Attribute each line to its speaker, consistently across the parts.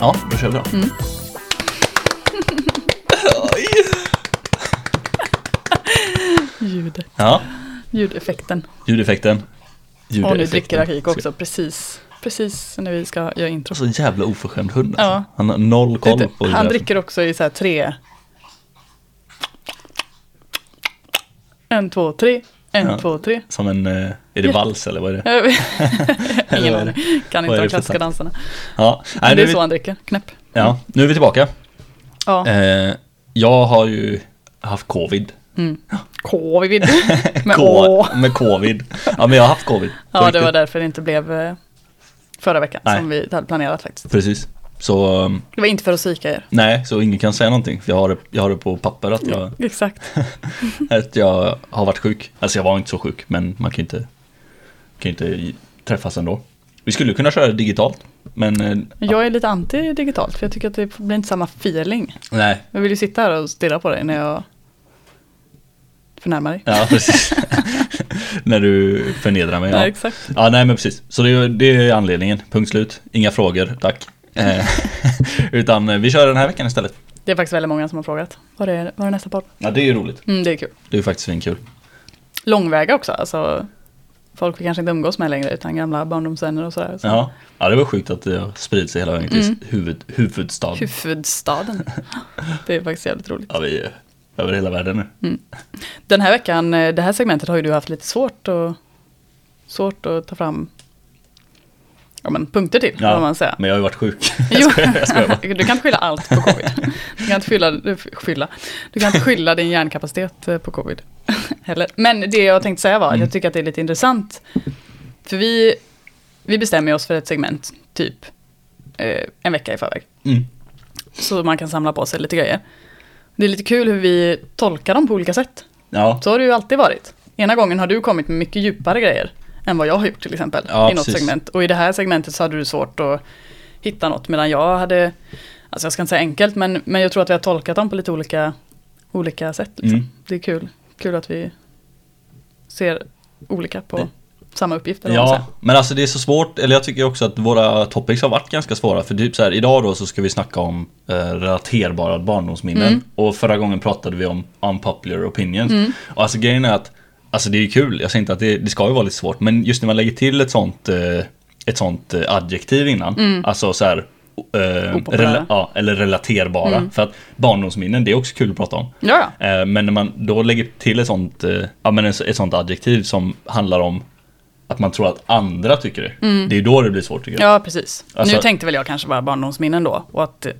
Speaker 1: Ja, då kör vi då.
Speaker 2: Mm.
Speaker 1: Oj.
Speaker 2: Ljud.
Speaker 1: ja,
Speaker 2: Ljudeffekten.
Speaker 1: ljudeffekten.
Speaker 2: Och nu
Speaker 1: Ljudeffekten.
Speaker 2: dricker Akiko också precis, precis när vi ska göra intro.
Speaker 1: Så jävla oförskämd hund
Speaker 2: Ja.
Speaker 1: alltså. Han har noll Alltså, koll
Speaker 2: Lite-
Speaker 1: på
Speaker 2: Han
Speaker 1: ljudeffekten.
Speaker 2: dricker också i så här tre. En, två, tre. En,
Speaker 1: Ja.
Speaker 2: två, tre.
Speaker 1: Som en, eh, är det vals eller vad är det?
Speaker 2: Jag vet- Ingen
Speaker 1: Eller vad är
Speaker 2: aning.
Speaker 1: det? Vad
Speaker 2: Kan inte
Speaker 1: är det
Speaker 2: de
Speaker 1: för
Speaker 2: klassiska
Speaker 1: tant?
Speaker 2: danserna.
Speaker 1: Ja, nej,
Speaker 2: Men det
Speaker 1: nu,
Speaker 2: är så
Speaker 1: är vi,
Speaker 2: han dricker. Knäpp.
Speaker 1: ja nu är vi tillbaka.
Speaker 2: Ja.
Speaker 1: Eh, jag har ju haft covid.
Speaker 2: Covid. Med
Speaker 1: K
Speaker 2: Å.
Speaker 1: med covid. Ja, men jag har haft covid. På
Speaker 2: Ja, det
Speaker 1: riktigt.
Speaker 2: var därför det inte blev eh, förra veckan
Speaker 1: Nej.
Speaker 2: som vi hade planerat faktiskt.
Speaker 1: Precis. Så um,
Speaker 2: Det var inte för att psyka er.
Speaker 1: nej, så ingen kan säga någonting. För jag har det, jag har det på papper att jag,
Speaker 2: Exakt.
Speaker 1: att jag har varit sjuk. Alltså jag var inte så sjuk, men man kan ju inte, kan ju inte i- träffas ändå. Vi skulle kunna köra det digitalt, men eh,
Speaker 2: Jag är lite anti digitalt för jag tycker att det blir inte samma feeling.
Speaker 1: nej.
Speaker 2: Jag vill ju sitta här och stirra på dig när jag förnärmar dig.
Speaker 1: Ja, precis. När du förnedrar mig.
Speaker 2: Ja,
Speaker 1: Ja.
Speaker 2: exakt.
Speaker 1: Ja, nej men precis. Så det, det är anledningen. Punkt slut. Inga frågor, tack. Eh, utan eh, vi kör den här veckan istället.
Speaker 2: Det är faktiskt väldigt många som har frågat. Var är, var är nästa podd?
Speaker 1: Ja, det är ju roligt.
Speaker 2: Mm, det är kul.
Speaker 1: Det är ju faktiskt svinkul.
Speaker 2: Långväga också, alltså. Folk vi kanske inte umgås med längre utan gamla barndomsvänner och sådär. Så.
Speaker 1: Ja. ja, det var sjukt att det har spridit sig hela vägen till
Speaker 2: Mm.
Speaker 1: huvud, huvudstad.
Speaker 2: Huvudstaden. Det är faktiskt jävligt roligt.
Speaker 1: Ja, vi är över hela världen nu.
Speaker 2: Den här veckan, eh, det här segmentet har ju du haft lite svårt att, svårt att ta fram ja, men punkter till,
Speaker 1: Ja,
Speaker 2: kan man säga.
Speaker 1: Men jag har ju varit sjuk.
Speaker 2: Jo, du kan inte skylla allt på covid. Du kan inte skylla, du- skylla. Du kan inte skylla din hjärnkapacitet eh, på covid. Heller. Men det jag tänkte säga var,
Speaker 1: Mm.
Speaker 2: att jag tycker att det är lite intressant. För vi, vi bestämmer oss för ett segment, typ eh, en vecka i förväg.
Speaker 1: Mm.
Speaker 2: Så man kan samla på sig lite grejer. Det är lite kul hur vi tolkar dem på olika sätt.
Speaker 1: Ja,
Speaker 2: Så har det ju alltid varit. Ena gången har du kommit med mycket djupare grejer än vad jag har gjort till exempel.
Speaker 1: Ja,
Speaker 2: I något
Speaker 1: precis.
Speaker 2: segment. Och i det här segmentet så hade du svårt att hitta något. Medan jag hade, alltså jag ska inte säga enkelt, men, men jag tror att vi har tolkat dem på lite olika, olika sätt. Liksom.
Speaker 1: Mm.
Speaker 2: Det är kul. Kul att vi ser olika på
Speaker 1: Det-
Speaker 2: samma uppgifter. om man
Speaker 1: ja
Speaker 2: säger.
Speaker 1: men alltså det är så svårt. Eller jag tycker också att våra topics har varit ganska svåra. För typ så här, idag då så ska vi snacka om eh, relaterbara barndomsminnen. Och förra gången pratade vi om unpopular opinions. Och alltså grejen är att, alltså det är ju kul. Jag säger inte att det, det ska ju vara lite svårt. Men just när man lägger till ett sånt, eh, ett sånt eh, adjektiv innan. Alltså så här, eh,
Speaker 2: Opopulära.
Speaker 1: rela- ja, eller relaterbara. För att barndomsminnen, det är också kul att prata om.
Speaker 2: Ja, ja.
Speaker 1: Eh, Men när man då lägger till ett sånt, eh, ja, men ett ett sånt adjektiv som handlar om att man tror att andra tycker det. Det är ju då det blir svårt tycker jag.
Speaker 2: Mm. Ja, precis.
Speaker 1: Alltså-
Speaker 2: nu tänkte väl jag kanske bara barndomsminnen då. Och att eh,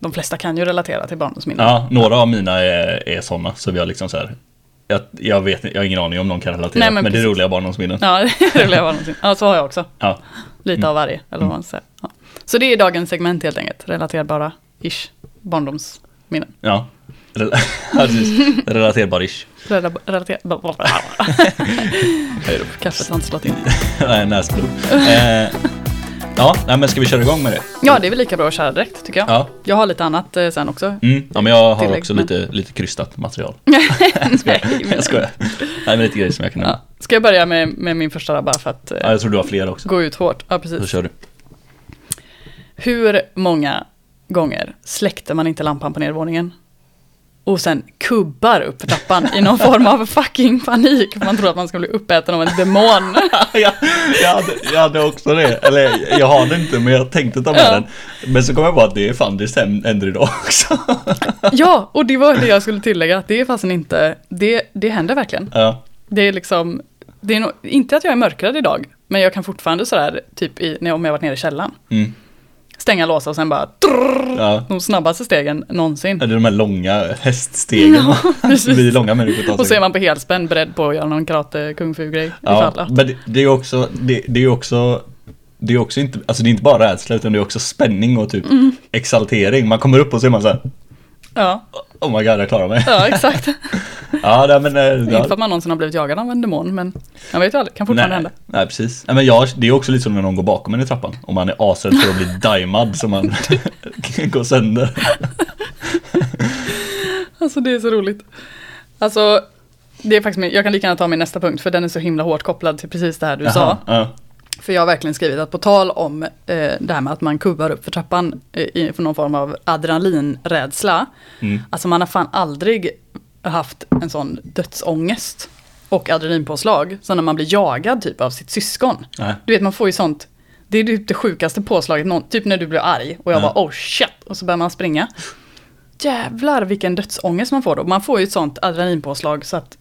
Speaker 2: de flesta kan ju relatera till barndomsminnen.
Speaker 1: Ja, några av mina är, är sådana, så vi har liksom så här. Jag, jag vet jag har ingen aning om någon kan relatera,
Speaker 2: Nej, men
Speaker 1: men, det är
Speaker 2: precis.
Speaker 1: roliga barndomsminnen. Ja.
Speaker 2: Ja, det roliga barndomsminnen. Ja, så har jag också.
Speaker 1: Ja.
Speaker 2: Lite
Speaker 1: Mm.
Speaker 2: av varje, eller vad man säger. Ja. Så det är dagens segment helt enkelt, relaterbara ish barndomsminnen.
Speaker 1: ja. Rel- ja, precis. Relaterbar-ish.
Speaker 2: Rela- Relaterbara...
Speaker 1: Hej då.
Speaker 2: Kaffet har inte slått in.
Speaker 1: Nej, näsblod. Eh, ja, nej, men ska vi köra igång med det?
Speaker 2: Ja, det är väl lika bra att köra direkt tycker jag.
Speaker 1: Ja.
Speaker 2: Jag har lite annat eh, sen också.
Speaker 1: Mm. Ja, men jag har
Speaker 2: Tillägg,
Speaker 1: också
Speaker 2: men-
Speaker 1: lite, lite krystat material.
Speaker 2: Nej, men-
Speaker 1: Jag skojar. Nej, men lite grejer som jag kan nämna.
Speaker 2: ja. Ska jag börja med, med min första där, bara för att eh,
Speaker 1: Ja, jag tror du har fler också.
Speaker 2: gå ut hårt? Ja,
Speaker 1: Då
Speaker 2: precis.
Speaker 1: kör du.
Speaker 2: Hur många gånger släckte man inte lampan på nedervåningen? Och sen kubbar upp för trappan i någon form av fucking panik. för Man tror att man ska bli uppäten av en demon.
Speaker 1: jag, jag, hade, jag hade också det, eller jag har det inte men jag tänkte ta med
Speaker 2: Ja.
Speaker 1: den. Men så kom jag på att det är fan det stäm- händer idag också.
Speaker 2: Ja, och det var det jag skulle tillägga, att det är fasen inte, det, det händer verkligen.
Speaker 1: ja,
Speaker 2: Det är liksom, det är nog, inte att jag är mörkrädd idag, men jag kan fortfarande sådär, typ i, när jag, om jag varit nere i källaren,
Speaker 1: Mm.
Speaker 2: stänga låsa och sen bara, trrr,
Speaker 1: ja.
Speaker 2: de snabbaste stegen någonsin.
Speaker 1: Det är de här långa häststegen.
Speaker 2: Ja,
Speaker 1: det
Speaker 2: precis.
Speaker 1: blir långa människor tar
Speaker 2: Och så
Speaker 1: sig.
Speaker 2: är man på helspänn beredd på att göra någon karate kung fu-grej.
Speaker 1: Ja,
Speaker 2: ifall att-
Speaker 1: men det, det är också, det, det är också det är också inte, alltså det är inte bara rädsla utan det är också spänning och typ
Speaker 2: Mm.
Speaker 1: exaltering. Man kommer upp och så är man såhär,
Speaker 2: ja,
Speaker 1: oh my god jag klarar mig.
Speaker 2: ja exakt.
Speaker 1: Ja, nej, men, eh,
Speaker 2: Inte för
Speaker 1: ja.
Speaker 2: att man någonsin har blivit jagad av en demon, men jag vet ju aldrig, kan fortfarande hända.
Speaker 1: nej precis. Nej, men jag, det är också lite som när någon går bakom en i trappan. Om man är asrädd för att bli daimad så man går sönder.
Speaker 2: Alltså det är så roligt. Alltså, det är faktiskt min, jag kan lika gärna ta min nästa punkt, för den är så himla hårt kopplad till precis det här du sa.
Speaker 1: Aha, ja.
Speaker 2: För jag har verkligen skrivit att på tal om eh, det här med att man kubbar upp för trappan eh, i- för någon form av adrenalinrädsla.
Speaker 1: Mm.
Speaker 2: Alltså man har fan aldrig haft en sån dödsångest och adrenalinpåslag som när man blir jagad typ av sitt syskon.
Speaker 1: Nej.
Speaker 2: Du vet man får ju sånt, det är typ det sjukaste påslaget, någon, typ när du blir arg och
Speaker 1: Ja.
Speaker 2: jag bara oh shit och så börjar man springa. Jävlar vilken dödsångest man får då. Man får ju ett sånt adrenalinpåslag så att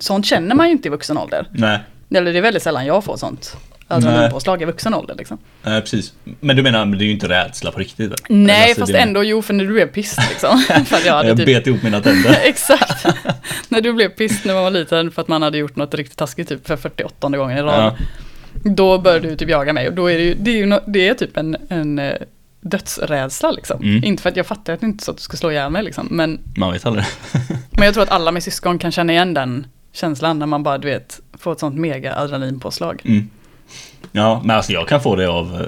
Speaker 2: sånt känner man ju inte i vuxen ålder.
Speaker 1: Nej.
Speaker 2: Eller det är väldigt sällan jag får sånt adrenalinpåslag i vuxen ålder liksom.
Speaker 1: Nej, precis. Men du menar, men det är ju inte rädsla på riktigt? va?
Speaker 2: Nej,
Speaker 1: Alltså,
Speaker 2: fast
Speaker 1: det-
Speaker 2: ändå, jo, för när du blev pissed liksom. för att jag hade
Speaker 1: Jag
Speaker 2: typ...
Speaker 1: bet ihop mina tänder.
Speaker 2: Exakt. när du blev pissed när man var liten för att man hade gjort något riktigt taskigt typ för 48 gången i rad.
Speaker 1: Ja.
Speaker 2: Då började du typ jaga mig och då är det ju, det är, ju nå- det är typ en, en eh, dödsrädsla liksom.
Speaker 1: Mm.
Speaker 2: Inte för att jag fattar att det inte är så att du ska slå ihjäl mig liksom. Men,
Speaker 1: Man vet aldrig.
Speaker 2: men jag tror att alla med syskon kan känna igen den känslan när man bara, du vet, får ett sånt mega adrenalinpåslag.
Speaker 1: Mm. Ja, men alltså jag kan få det av, eh,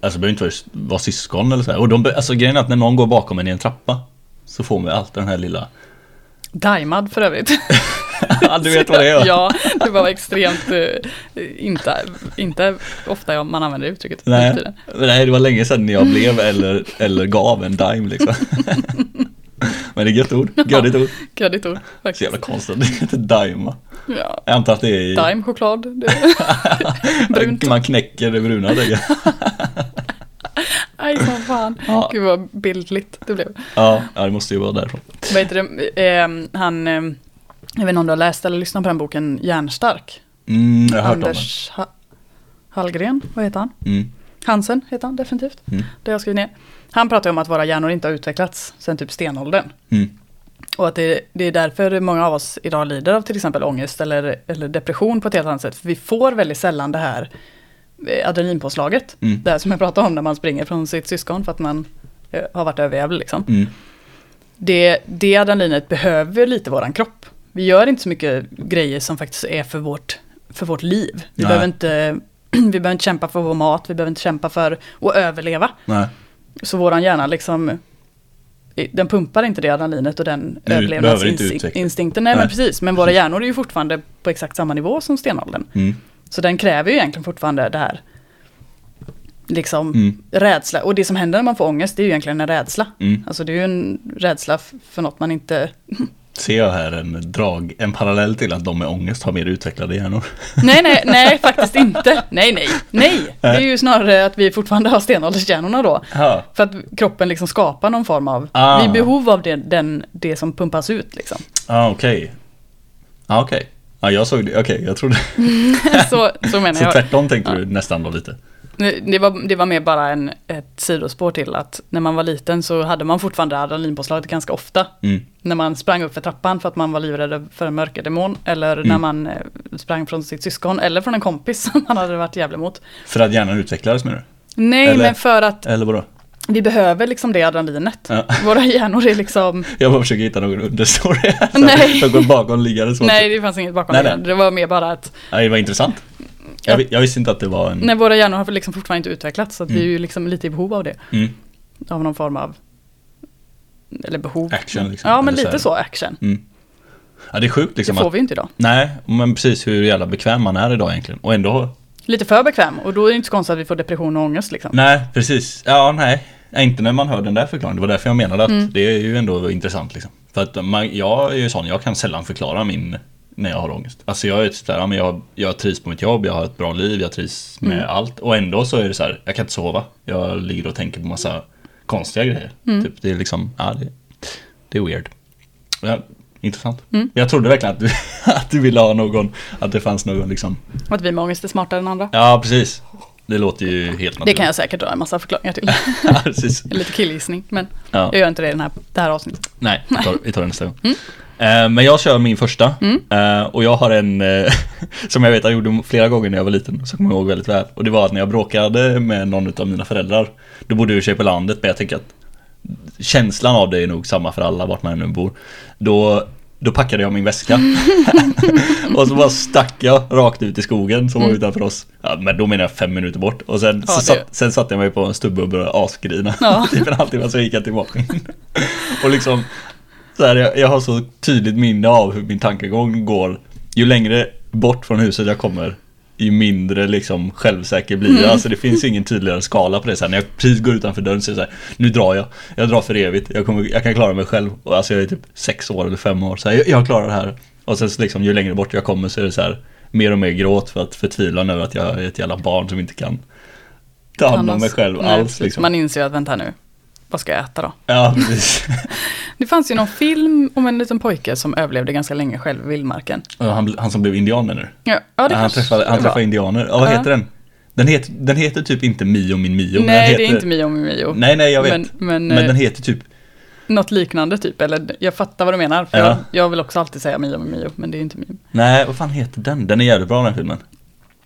Speaker 1: alltså det behöver inte vara- vara syskon eller så här. Och de, be- alltså grejen är att när någon går bakom en i en trappa så får man ju alltid den här lilla,
Speaker 2: Daimad för övrigt.
Speaker 1: Ja, du vet vad det är?
Speaker 2: ja, det var extremt, eh, inte, inte ofta jag- man använder det uttrycket. nu för
Speaker 1: Nej,
Speaker 2: tiden.
Speaker 1: nej, det var länge sedan jag blev eller, eller gav en dime liksom. Men det är gött ord, gödigt ord.
Speaker 2: Gött ord,
Speaker 1: Så jävla
Speaker 2: faktiskt.
Speaker 1: konstigt, det heter dime.
Speaker 2: Ja.
Speaker 1: Jag antar att det är i,
Speaker 2: Daim, choklad. Det. brunt.
Speaker 1: man knäcker det bruna det.
Speaker 2: Aj, som fan.
Speaker 1: Ja.
Speaker 2: Gud vad bildligt det blev.
Speaker 1: Ja, ja, det måste ju vara därifrån.
Speaker 2: Vad heter det, ehm, han, ehm, jag vet inte om du har läst eller lyssnat på den boken Järnstark?
Speaker 1: Mm, jag har hört om
Speaker 2: Anders ha- Hallgren, vad heter han?
Speaker 1: det. Mm,
Speaker 2: Hansen heter han definitivt.
Speaker 1: Mm.
Speaker 2: Det har jag skrivit ner. Han pratar ju om att våra hjärnor inte har utvecklats sedan typ stenåldern.
Speaker 1: mm,
Speaker 2: Och att det, det är därför många av oss idag lider av till exempel ångest eller, eller depression på ett helt annat sätt. För vi får väldigt sällan det här eh, adrenalinpåslaget.
Speaker 1: Mm.
Speaker 2: Det här som jag pratade om när man springer från sitt syskon för att man eh, har varit överjävlig liksom.
Speaker 1: mm,
Speaker 2: Det, det adrenalinet behöver lite våran kropp. Vi gör inte så mycket grejer som faktiskt är för vårt, för vårt liv. Vi
Speaker 1: Nej.
Speaker 2: behöver, inte, vi behöver inte kämpa för vår mat, vi behöver inte kämpa för att överleva.
Speaker 1: nej.
Speaker 2: Så våran hjärna liksom, den pumpar inte det adrenalinet och den
Speaker 1: Du behöver inte utveckla.
Speaker 2: överlevnadsinstinkten. Nej, men
Speaker 1: Nej.
Speaker 2: precis, men våra hjärnor är ju fortfarande på exakt samma nivå som stenåldern.
Speaker 1: Mm,
Speaker 2: Så den kräver ju egentligen fortfarande det här, liksom
Speaker 1: Mm.
Speaker 2: rädsla. Och det som händer när man får ångest, det är ju egentligen en rädsla.
Speaker 1: mm.
Speaker 2: Alltså det är ju en rädsla f- för något man inte...
Speaker 1: Ser jag här en drag, en parallell till att de med ångest har mer utvecklade hjärnor.
Speaker 2: Nej, nej, nej, faktiskt inte. Nej, nej, nej. Det är ju snarare att vi fortfarande har stenålderskärnorna då.
Speaker 1: Ja.
Speaker 2: För att kroppen liksom skapar någon form av,
Speaker 1: Ah.
Speaker 2: vi är i behov av det, den, det som pumpas ut liksom.
Speaker 1: Ah, okej. Ja, ah, okej. Ja, jag såg det. Okej, jag trodde...
Speaker 2: Så, så menar
Speaker 1: Så
Speaker 2: jag.
Speaker 1: tvärtom tänkte du nästan då lite.
Speaker 2: Det var, det var mer bara en, ett sidospår till att när man var liten så hade man fortfarande adrenalinpåslaget ganska ofta.
Speaker 1: Mm.
Speaker 2: När man sprang upp för trappan för att man var livrädd för en mörkerdemon. Eller när
Speaker 1: Mm.
Speaker 2: man eh, sprang från sitt syskon eller från en kompis som man hade varit jävlig mot.
Speaker 1: För att hjärnan utvecklades menar
Speaker 2: Nej,
Speaker 1: Eller-
Speaker 2: men för att
Speaker 1: du? Eller vadå?
Speaker 2: vi behöver liksom det adrenalinet.
Speaker 1: Ja.
Speaker 2: Våra hjärnor är liksom...
Speaker 1: Jag bara försöker hitta någon understory här. Så
Speaker 2: Nej.
Speaker 1: Jag går bakom liggande så.
Speaker 2: Nej, det fanns inget bakom
Speaker 1: Nej,
Speaker 2: det.
Speaker 1: nej.
Speaker 2: Det var mer bara att
Speaker 1: Nej, det var intressant. Jag, vi- jag visste inte att det var en...
Speaker 2: när våra hjärnor har liksom fortfarande inte utvecklats. Så att vi är ju liksom lite i behov av det.
Speaker 1: Mm.
Speaker 2: Av någon form av... Eller behov.
Speaker 1: Action liksom.
Speaker 2: Ja, men
Speaker 1: Eller så här.
Speaker 2: lite så action.
Speaker 1: Ja, det är sjukt
Speaker 2: Det
Speaker 1: liksom
Speaker 2: får
Speaker 1: att...
Speaker 2: vi ju inte idag.
Speaker 1: Nej, men precis hur jävla bekväm man är idag egentligen. Och ändå...
Speaker 2: Lite för bekväm och då är det inte så konstigt att vi får depression och ångest liksom.
Speaker 1: Nej, precis. Ja, nej. Nej, Inte när man hör den där förklaringen. Det var därför jag menade att
Speaker 2: Mm.
Speaker 1: det är ju ändå intressant. Liksom. För att man, jag är ju sån, jag kan sällan förklara min när jag har ångest. Alltså jag är typ sådär, ja, men jag, jag trivs på mitt jobb, jag har ett bra liv, jag trivs med
Speaker 2: Mm.
Speaker 1: allt. Och ändå så är det så här, jag kan inte sova. Jag ligger och tänker på massa konstiga grejer.
Speaker 2: Mm.
Speaker 1: Typ, det är liksom, ja det, det är weird. Ja, intressant.
Speaker 2: Mm.
Speaker 1: Jag trodde verkligen att du, att du ville ha någon, att det fanns någon liksom.
Speaker 2: Att vi med ångest är smartare än andra.
Speaker 1: Ja, precis. Det låter ju helt naturligt.
Speaker 2: Det kan jag säkert dra en massa förklaringar till.
Speaker 1: ja, precis.
Speaker 2: Lite killgissning, men
Speaker 1: Ja.
Speaker 2: jag gör inte det i den här, det här avsnittet.
Speaker 1: Nej, vi tar, vi tar det nästa gång. Eh, Men jag kör min första.
Speaker 2: Mm.
Speaker 1: Eh, Och jag har en eh, som jag vet jag gjorde flera gånger när jag var liten. Så kommer jag ihåg väldigt väl. Och det var att när jag bråkade med någon av mina föräldrar. Då bodde vi i och för sig på landet men jag tänker att känslan av det är nog samma för alla vart man nu bor. Då, då packade jag min väska. och så bara stack jag rakt ut i skogen som var utanför oss. Ja, men då menar jag fem minuter bort. Och sen,
Speaker 2: Mm. Ja,
Speaker 1: så
Speaker 2: det-
Speaker 1: satt, sen satte jag mig på en stubbe och började asgrina.
Speaker 2: Ja.
Speaker 1: typ en halvtimme så gick jag tillbaka in. och liksom så här, jag, jag har så tydligt minne av hur min tankegång går ju längre bort från huset jag kommer ju- ju mindre liksom självsäker blir
Speaker 2: Mm.
Speaker 1: jag. Alltså det finns ingen tydligare skala på det. Så här, när jag precis går utanför dörren så är det så här, nu drar jag. Jag drar för evigt. Jag, kommer, jag kan klara mig själv. Och Alltså jag är typ sex år eller fem år. Så här, jag, jag klarar det här. Och sen så liksom, ju längre bort jag kommer så är det så här, mer och mer gråt för att förtvivlan över att jag är ett jävla barn som inte kan ta hand om mig själv
Speaker 2: Nej,
Speaker 1: alls.
Speaker 2: precis.
Speaker 1: Liksom.
Speaker 2: Man inser ju att vänta nu, vad ska jag äta då?
Speaker 1: Ja, precis.
Speaker 2: Det fanns ju någon film om en liten pojke som överlevde ganska länge själv i vildmarken.
Speaker 1: Och Han, han som blev indianer nu.
Speaker 2: Ja, ja det
Speaker 1: han
Speaker 2: kanske
Speaker 1: träffade, han
Speaker 2: var.
Speaker 1: träffade indianer. Ja, vad
Speaker 2: Ja.
Speaker 1: heter den? Den heter, den heter typ inte Mio min Mio. men den
Speaker 2: Nej,
Speaker 1: heter,
Speaker 2: det är inte Mio med Mio.
Speaker 1: Nej, nej, jag vet.
Speaker 2: Men, men,
Speaker 1: Men
Speaker 2: eh,
Speaker 1: den heter typ,
Speaker 2: något liknande typ, eller jag fattar vad du menar. För
Speaker 1: Ja.
Speaker 2: jag, jag vill också alltid säga Mio med Mio, men det är ju inte Mio.
Speaker 1: nej vad fan heter den? Den är jävligt bra den här filmen.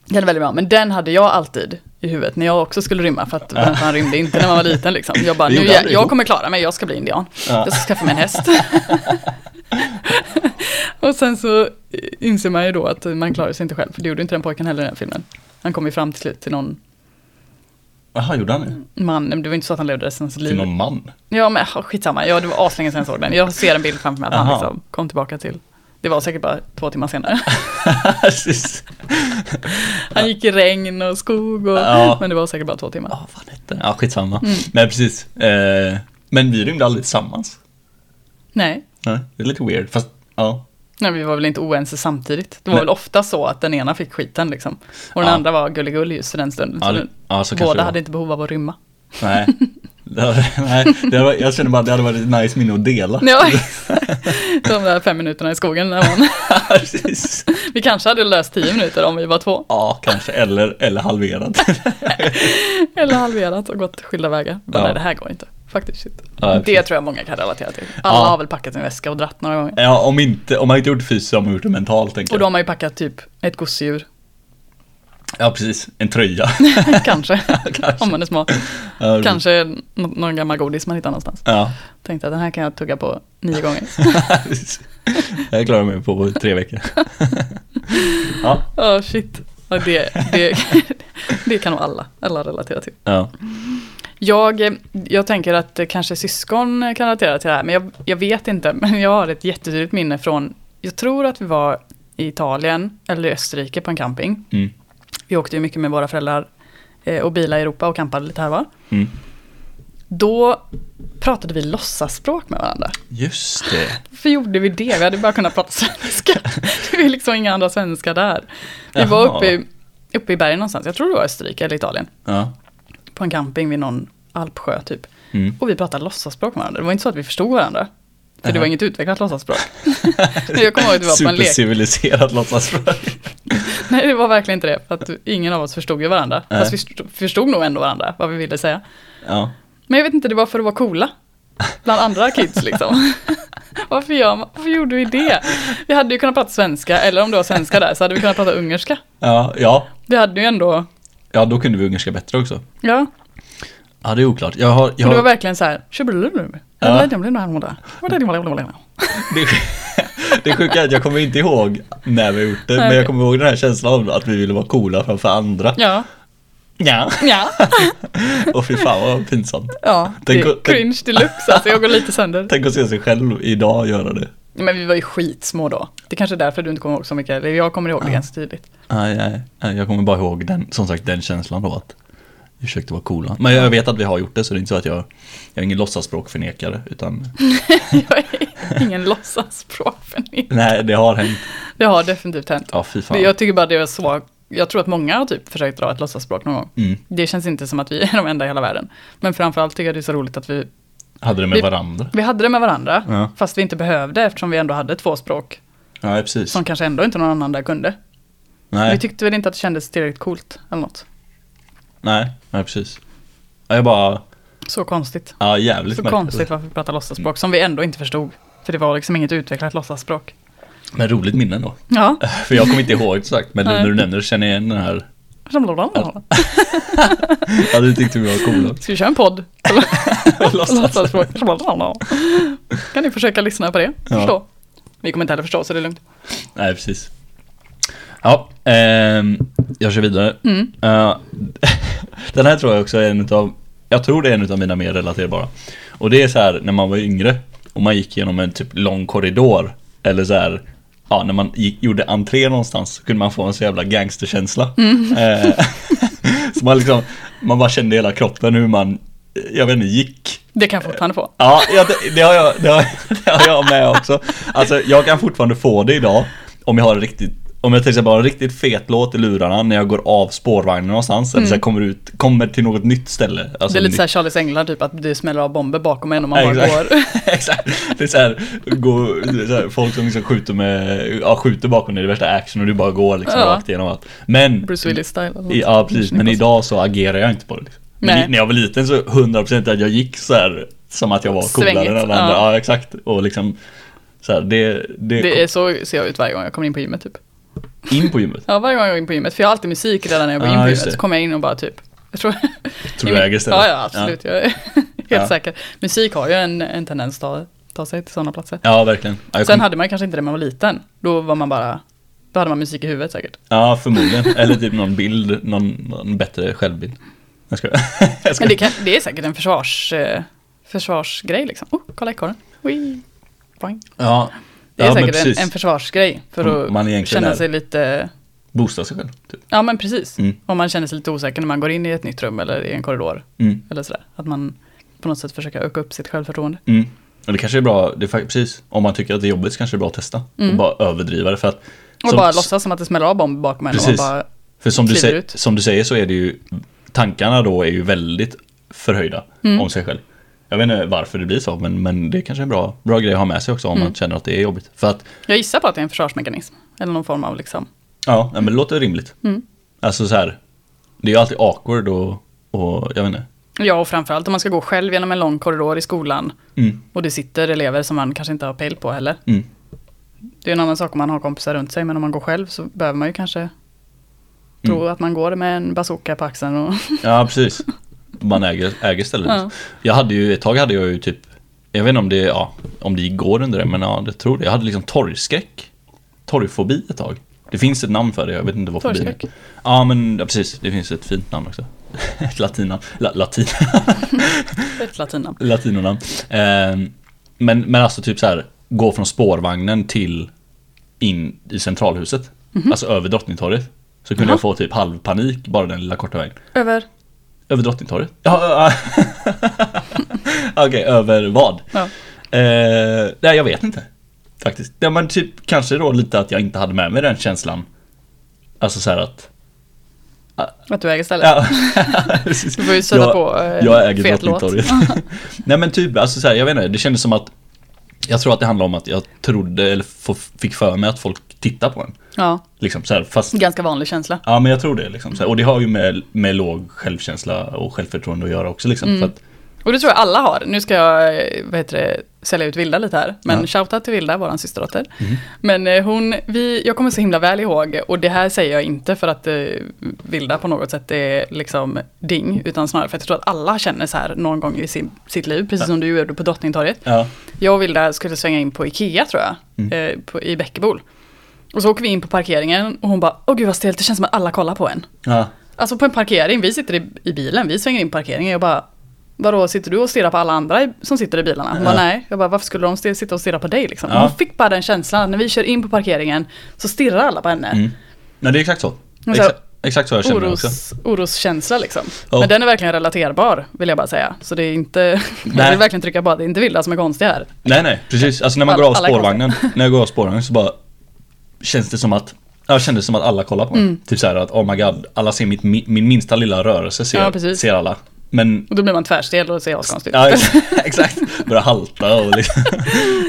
Speaker 2: Den är väldigt bra, men den hade jag alltid i huvudet när jag också skulle rymma, för att vem fan rymde inte när man var liten liksom. Jag bara,
Speaker 1: Det
Speaker 2: nu,
Speaker 1: gjorde
Speaker 2: jag,
Speaker 1: aldrig
Speaker 2: jag
Speaker 1: ihop.
Speaker 2: kommer klara mig, jag ska bli indian.
Speaker 1: Ja.
Speaker 2: Jag ska skaffa mig en häst. och sen så eh, inser man ju då att man klarar sig inte själv, för det gjorde inte den pojken heller i den filmen. Han kom ju fram till slut till någon
Speaker 1: Jaha, gjorde han det?
Speaker 2: man, men det var inte så att han levde resten av sitt
Speaker 1: Till
Speaker 2: liv.
Speaker 1: någon man?
Speaker 2: Ja men oh, skitsamma, ja, det var aslänge sedan jag såg den. Jag ser en bild framför mig att han
Speaker 1: Aha.
Speaker 2: liksom kom tillbaka till. Det var säkert bara två timmar senare.
Speaker 1: Precis.
Speaker 2: Han gick i regn och skog och,
Speaker 1: Ja.
Speaker 2: men det var säkert bara två timmar.
Speaker 1: Ja, vad fan hette den? Ja, skitsamma.
Speaker 2: Mm.
Speaker 1: Nej, precis. Eh, men vi rymde aldrig tillsammans.
Speaker 2: Nej,
Speaker 1: Nej, det är lite weird. Fast, ja.
Speaker 2: nej vi var väl inte oense samtidigt. Det var
Speaker 1: Nej.
Speaker 2: väl ofta så att den ena fick skiten liksom. Och den
Speaker 1: Ja.
Speaker 2: andra var gulligull just för den stunden.
Speaker 1: Ja,
Speaker 2: så
Speaker 1: det- ja, så kanske det
Speaker 2: båda
Speaker 1: var.
Speaker 2: hade inte behov av att rymma.
Speaker 1: Nej. Det hade- nej, det hade, jag känner bara att det hade varit ett nice minne att dela.
Speaker 2: Ja, de där fem minuterna i skogen. När man,
Speaker 1: Precis.
Speaker 2: vi kanske hade löst tio minuter om vi var två.
Speaker 1: Ja, kanske. Eller, eller halverad.
Speaker 2: Eller halverat och gått skilda vägar. Bara,
Speaker 1: Ja.
Speaker 2: Nej, det här går inte. Faktiskt shit.
Speaker 1: Ja,
Speaker 2: det
Speaker 1: precis.
Speaker 2: tror jag många kan relatera till. Alla
Speaker 1: Ja.
Speaker 2: har väl packat sin väska och dratt några gånger.
Speaker 1: Ja, om, inte, om man inte gjort det fysiskt så har man gjort det mentalt. Tänker
Speaker 2: Och
Speaker 1: jag.
Speaker 2: då har man ju packat typ ett gosedjur,
Speaker 1: Ja, precis. En tröja.
Speaker 2: kanske.
Speaker 1: Kanske. Mm.
Speaker 2: Om man är smart.
Speaker 1: Ja, precis.
Speaker 2: Kanske nå- någon gammal godis man hittar någonstans.
Speaker 1: Ja,
Speaker 2: Tänkte att den här kan jag tugga på nio gånger.
Speaker 1: precis. Jag klarar mig på tre veckor. Ja,
Speaker 2: Åh shit. Ja, det, det, det kan nog alla, alla relatera till.
Speaker 1: ja.
Speaker 2: Jag, eh, jag tänker att eh, kanske syskon kan relatera till det här, men jag, jag vet inte. Men jag har ett jättetydligt minne från, jag tror att vi var i Italien eller i Österrike på en camping.
Speaker 1: Mm.
Speaker 2: Vi åkte ju mycket med våra föräldrar eh, och bilade i Europa och campade lite här var.
Speaker 1: Mm.
Speaker 2: Då pratade vi låtsasspråk med varandra.
Speaker 1: Just det.
Speaker 2: Varför gjorde vi det? Vi hade bara kunnat prata svenska. Det var liksom inga andra svenskar där. Vi var
Speaker 1: Jaha.
Speaker 2: uppe i, uppe i bergen någonstans, jag tror det var Österrike eller Italien,
Speaker 1: Ja.
Speaker 2: på en camping vid någon alpsjö typ.
Speaker 1: Mm.
Speaker 2: Och vi pratade låtsasspråk med varandra. Det var inte så att vi förstod varandra. För det
Speaker 1: Aha.
Speaker 2: var inget utvecklat låtsasspråk. Men jag kommer ihåg att det var på en lek.
Speaker 1: Superciviliserat låtsasspråk.
Speaker 2: Nej, det var verkligen inte det. För att ingen av oss förstod ju varandra.
Speaker 1: Nej.
Speaker 2: Fast vi förstod, förstod nog ändå varandra, vad vi ville säga.
Speaker 1: Ja.
Speaker 2: Men jag vet inte, det var för att vara coola. Bland andra kids liksom. Varför, gör man, varför gjorde vi det? Vi hade ju kunnat prata svenska, eller om det var svenska där, så hade vi kunnat prata ungerska.
Speaker 1: Ja, ja.
Speaker 2: Vi hade ju ändå,
Speaker 1: Ja, då kunde vi ungerska bättre också.
Speaker 2: ja,
Speaker 1: Ja, det är oklart. Jag har... Jag
Speaker 2: och det var
Speaker 1: har
Speaker 2: verkligen så här, "Tjabelulu."
Speaker 1: Ja. det, det sjuka är att jag kommer inte ihåg när vi har gjort det,
Speaker 2: Nej,
Speaker 1: men
Speaker 2: okej.
Speaker 1: jag kommer ihåg den här känslan av att vi ville vara coola framför andra.
Speaker 2: Ja,
Speaker 1: Ja.
Speaker 2: ja,
Speaker 1: Och fy fan vad pinsamt.
Speaker 2: ja, det
Speaker 1: Tänk
Speaker 2: är
Speaker 1: att-
Speaker 2: cringe deluxe alltså, jag går lite sönder.
Speaker 1: Tänk att se sig själv idag göra det.
Speaker 2: Men vi var ju skitsmå då. Det kanske är därför du inte kommer ihåg så mycket, eller jag kommer ihåg det ganska tydligt.
Speaker 1: Nej, nej, nej, jag kommer bara ihåg den, som sagt, den känslan då att vi försökte vara coola. Men jag vet att vi har gjort det så det är inte så att jag, jag är ingen låtsaspråkförnekare utan
Speaker 2: Jag är ingen låtsasproffsförnekare.
Speaker 1: nej, det har hänt.
Speaker 2: Det har definitivt hänt.
Speaker 1: Ja, fy
Speaker 2: Det-
Speaker 1: fan.
Speaker 2: Jag tycker bara det var så, jag tror att många har typ försökt dra ett låtsasspråk någon gång.
Speaker 1: Mm.
Speaker 2: Det känns inte som att vi är de enda i hela världen. Men framförallt tycker jag det är så roligt att vi,
Speaker 1: Hade det med
Speaker 2: Vi-
Speaker 1: varandra?
Speaker 2: vi hade det med varandra,
Speaker 1: Ja.
Speaker 2: fast vi inte behövde eftersom vi ändå hade två språk
Speaker 1: Nej, precis.
Speaker 2: som kanske ändå inte någon annan där kunde. Vi
Speaker 1: Nej,
Speaker 2: tyckte väl inte att det kändes tillräckligt coolt eller något.
Speaker 1: nej, nej, precis. Ja, Jag bara,
Speaker 2: Så konstigt.
Speaker 1: ja jävligt
Speaker 2: Så
Speaker 1: märkligt.
Speaker 2: konstigt varför vi pratar låtsasspråk som vi ändå inte förstod. För det var liksom inget utvecklat låtsasspråk.
Speaker 1: Men roligt minne då.
Speaker 2: Ja.
Speaker 1: För jag kommer inte ihåg exakt, men nu
Speaker 2: Nej.
Speaker 1: när du nämner det känner jag igen den här. Ja, du tyckte vi var coola.
Speaker 2: Ska vi köra en podd?
Speaker 1: Låtsas.
Speaker 2: Låtsasspråk. Kan ni försöka lyssna på det?
Speaker 1: Ja.
Speaker 2: Förstå. Vi kommer inte heller förstå så det är lugnt.
Speaker 1: Nej, precis. Ja, ehm, jag kör vidare. Eh, den här tror jag också är en utav, jag tror det är en av mina mer relaterbara. Och det är så här när man var yngre och man gick genom en typ lång korridor eller så här ja, när man gick, gjorde entré någonstans så kunde man få en så jävla gangsterkänsla. Eh, så man, liksom, man bara kände i hela kroppen hur man, jag vet inte, gick.
Speaker 2: Det kan jag fortfarande få.
Speaker 1: Ja, jag, det- det, har jag, det, har, det har jag med också. Alltså, jag kan fortfarande få det idag om jag har en riktigt om jag till exempel har en riktigt fet låt i lurarna när jag går av spårvagnen någonstans eller så här kommer, ut, kommer till något nytt ställe. Alltså
Speaker 2: Mm. Det är lite
Speaker 1: nytt-
Speaker 2: såhär Charlies Änglar typ, att det smäller av bomber bakom en och man
Speaker 1: Ja,
Speaker 2: bara
Speaker 1: exakt.
Speaker 2: går.
Speaker 1: exakt. Det är så här, gå, det är så här, folk som liksom skjuter, med, ja, skjuter bakom dig, det är värsta action och du bara går liksom
Speaker 2: Ja.
Speaker 1: rakt igenom allt. Men,
Speaker 2: Bruce Willis-style. eller något.
Speaker 1: i, ja, precis, men idag så agerar jag inte på det. Liksom. Men
Speaker 2: Nej.
Speaker 1: i, när jag var liten så 100% att jag gick så här som att jag var coolare
Speaker 2: Svängigt,
Speaker 1: än alla andra.
Speaker 2: ja.
Speaker 1: Ja. exakt. Och liksom så här, det, det,
Speaker 2: Det är så ser jag ut varje gång jag kommer in på gymmet typ.
Speaker 1: kom in på gymmet.
Speaker 2: Ja, varje gång jag går in på gymmet, för jag har alltid musik redan när jag går
Speaker 1: Ah,
Speaker 2: in på
Speaker 1: just
Speaker 2: gymmet,
Speaker 1: det.
Speaker 2: så kommer jag in och bara typ... Jag tror,
Speaker 1: Tror du äger stället?
Speaker 2: Ja, ja absolut. Jag är helt
Speaker 1: Ja.
Speaker 2: säker. Musik har ju en, en tendens att ta, ta sig till sådana platser.
Speaker 1: Ja, verkligen. Ja, jag
Speaker 2: Sen
Speaker 1: kom,
Speaker 2: hade man kanske inte det när man var liten. Då var man bara... Då hade man musik i huvudet säkert.
Speaker 1: ja, förmodligen. Eller typ någon bild, någon, någon bättre självbild. Jag skojar. Jag
Speaker 2: Men
Speaker 1: skojar.
Speaker 2: det, kan, det är säkert en försvars, eh, försvarsgrej liksom. Oh, kolla ekorren. Ui, boing.
Speaker 1: Ja,
Speaker 2: Det är
Speaker 1: ja men
Speaker 2: säkert en,
Speaker 1: precis.
Speaker 2: en försvarsgrej för att
Speaker 1: Om man egentligen
Speaker 2: känna
Speaker 1: är-
Speaker 2: sig lite...
Speaker 1: Boosta sig själv. Typ.
Speaker 2: Ja, men precis.
Speaker 1: Mm.
Speaker 2: Om man känner sig lite osäker när man går in i ett nytt rum eller i en korridor.
Speaker 1: Mm.
Speaker 2: Eller sådär. Att man på något sätt försöker öka upp sitt självförtroende.
Speaker 1: Mm. Och det kanske är bra, det är fakt- precis, om man tycker att det är jobbigt så kanske det är bra att testa. Och bara överdriva det för att
Speaker 2: Mm. Och bara låtsas som att det smäller av bomb bakom en.
Speaker 1: Precis.
Speaker 2: Och man bara,
Speaker 1: För som du,
Speaker 2: kliver
Speaker 1: sä-
Speaker 2: ut.
Speaker 1: som du säger så är det ju Tankarna då är ju väldigt förhöjda
Speaker 2: Mm.
Speaker 1: om sig själv. Jag vet inte varför det blir så men, men det är kanske är en bra, bra grej att ha med sig också om
Speaker 2: Mm.
Speaker 1: man känner att det är jobbigt. För att,
Speaker 2: jag gissar på att det är en försvarsmekanism. Eller någon form av liksom...
Speaker 1: ja nej, men det låter rimligt.
Speaker 2: Mm.
Speaker 1: Alltså så här, det är ju alltid awkward och, och jag vet inte.
Speaker 2: Ja, och framförallt om man ska gå själv genom en lång korridor i skolan.
Speaker 1: Mm,
Speaker 2: Och det sitter elever som man kanske inte har pejl på heller.
Speaker 1: mm.
Speaker 2: Det är en annan sak om man har kompisar runt sig, men om man går själv så behöver man ju kanske tro
Speaker 1: Mm.
Speaker 2: att man går med en bazooka på axeln och...
Speaker 1: Ja, precis. Man äger, äger stället.
Speaker 2: Ja.
Speaker 1: Jag hade ju, ett tag hade jag ju typ, jag vet inte om det, ja, om det gick går under det, men ja, det tror det. Jag hade liksom torgskräck. Torgfobi ett tag. Det finns ett namn för det, jag vet inte vad fobi är.
Speaker 2: Torgskräck?
Speaker 1: Ja, men ja, precis. Det finns ett fint namn också. Ett latina, la, latin,
Speaker 2: Ett latinamn.
Speaker 1: latinonamn. Ehm, men, men alltså typ så här, gå från spårvagnen till in i centralhuset.
Speaker 2: Mhm.
Speaker 1: Alltså över Drottningtorget. Så kunde jag få typ halvpanik bara den lilla korta vägen.
Speaker 2: Över?
Speaker 1: Över Drottningtorget? Ja, ja, ja. Okej, över vad?
Speaker 2: Ja.
Speaker 1: Eh, nej, jag vet inte. Faktiskt. Ja, men typ kanske då lite att jag inte hade med mig den känslan. Alltså så här att...
Speaker 2: Att du äger stället?
Speaker 1: Ja, precis.
Speaker 2: Du får ju sätta
Speaker 1: jag,
Speaker 2: på, eh,
Speaker 1: Jag äger
Speaker 2: fet låt.
Speaker 1: Drottningtorget. nej men typ, alltså så här, jag vet inte, det kändes som att jag tror att det handlar om att jag trodde, eller f- fick för mig att folk tittar på en.
Speaker 2: Ja,
Speaker 1: Liksom så här, fast
Speaker 2: ganska vanlig känsla.
Speaker 1: Ja men jag tror det liksom. Så här, Och det har ju med, med låg självkänsla och självförtroende att göra också
Speaker 2: Mm.
Speaker 1: liksom. För att,
Speaker 2: Och det tror jag alla har. Nu ska jag eh, vad heter det, sälja ut Vilda lite här. Men
Speaker 1: Ja.
Speaker 2: shoutout till Vilda, vår systerdotter. Men eh, hon, vi, jag kommer så himla väl ihåg, och det här säger jag inte för att eh, Vilda på något sätt är liksom ding, utan snarare för att jag tror att alla känner så här någon gång i sin, sitt liv, precis som du gjorde på Drottningtorget.
Speaker 1: ja.
Speaker 2: Jag och Vilda skulle svänga in på Ikea tror jag, eh, på, i Bäckebol. Och så åker vi in på parkeringen och hon bara, åh gud vad stelt, det känns som att alla kollar på en.
Speaker 1: Ja.
Speaker 2: Alltså på en parkering, vi sitter i, i bilen, vi svänger in på parkeringen. Jag bara, vadå sitter du och stirrar på alla andra i, som sitter i bilarna? Hon bara,
Speaker 1: Ja.
Speaker 2: nej. Jag bara, varför skulle de sti- sitta och stirra på dig liksom?
Speaker 1: Ja.
Speaker 2: Hon fick bara den känslan att när vi kör in på parkeringen så stirrar alla på henne.
Speaker 1: Nej det är exakt så.
Speaker 2: Men så här,
Speaker 1: Exa- exakt så Mm. jag känner också.
Speaker 2: Oros, oroskänsla liksom.
Speaker 1: Ja.
Speaker 2: Men den är verkligen relaterbar vill jag bara säga. Så det är inte, jag vill verkligen trycka på att det är inte Vilda som är konstig här.
Speaker 1: Nej nej, precis. Alltså när man
Speaker 2: Alla-
Speaker 1: går av
Speaker 2: alla är
Speaker 1: spårvagnen, när jag går av spårvagnen så bara känns det som att jag kände som att alla kollar på mig.
Speaker 2: Mm.
Speaker 1: Typ så här att oh my god, alla ser mitt, mi- min minsta lilla rörelse ser,
Speaker 2: Ja, precis.
Speaker 1: ser alla. Men,
Speaker 2: Och då blir man tvärstel och det ser askonstigt
Speaker 1: ja
Speaker 2: ut.
Speaker 1: ex- exakt, börjar halta och liksom.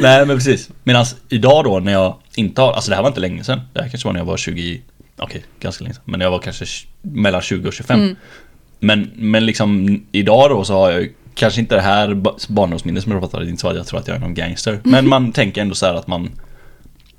Speaker 1: Nej men precis. Medan idag då när jag inte har, alltså det här var inte länge sedan. Det här kanske var när jag var 20, okej ganska länge sedan. Men jag var kanske tj- mellan 20 och 25. Men, men liksom idag då så har jag ju kanske inte det här ba- barndomsminnet som jag pratade om, inte så att jag tror att jag är någon gangster. Men man tänker ändå så här att man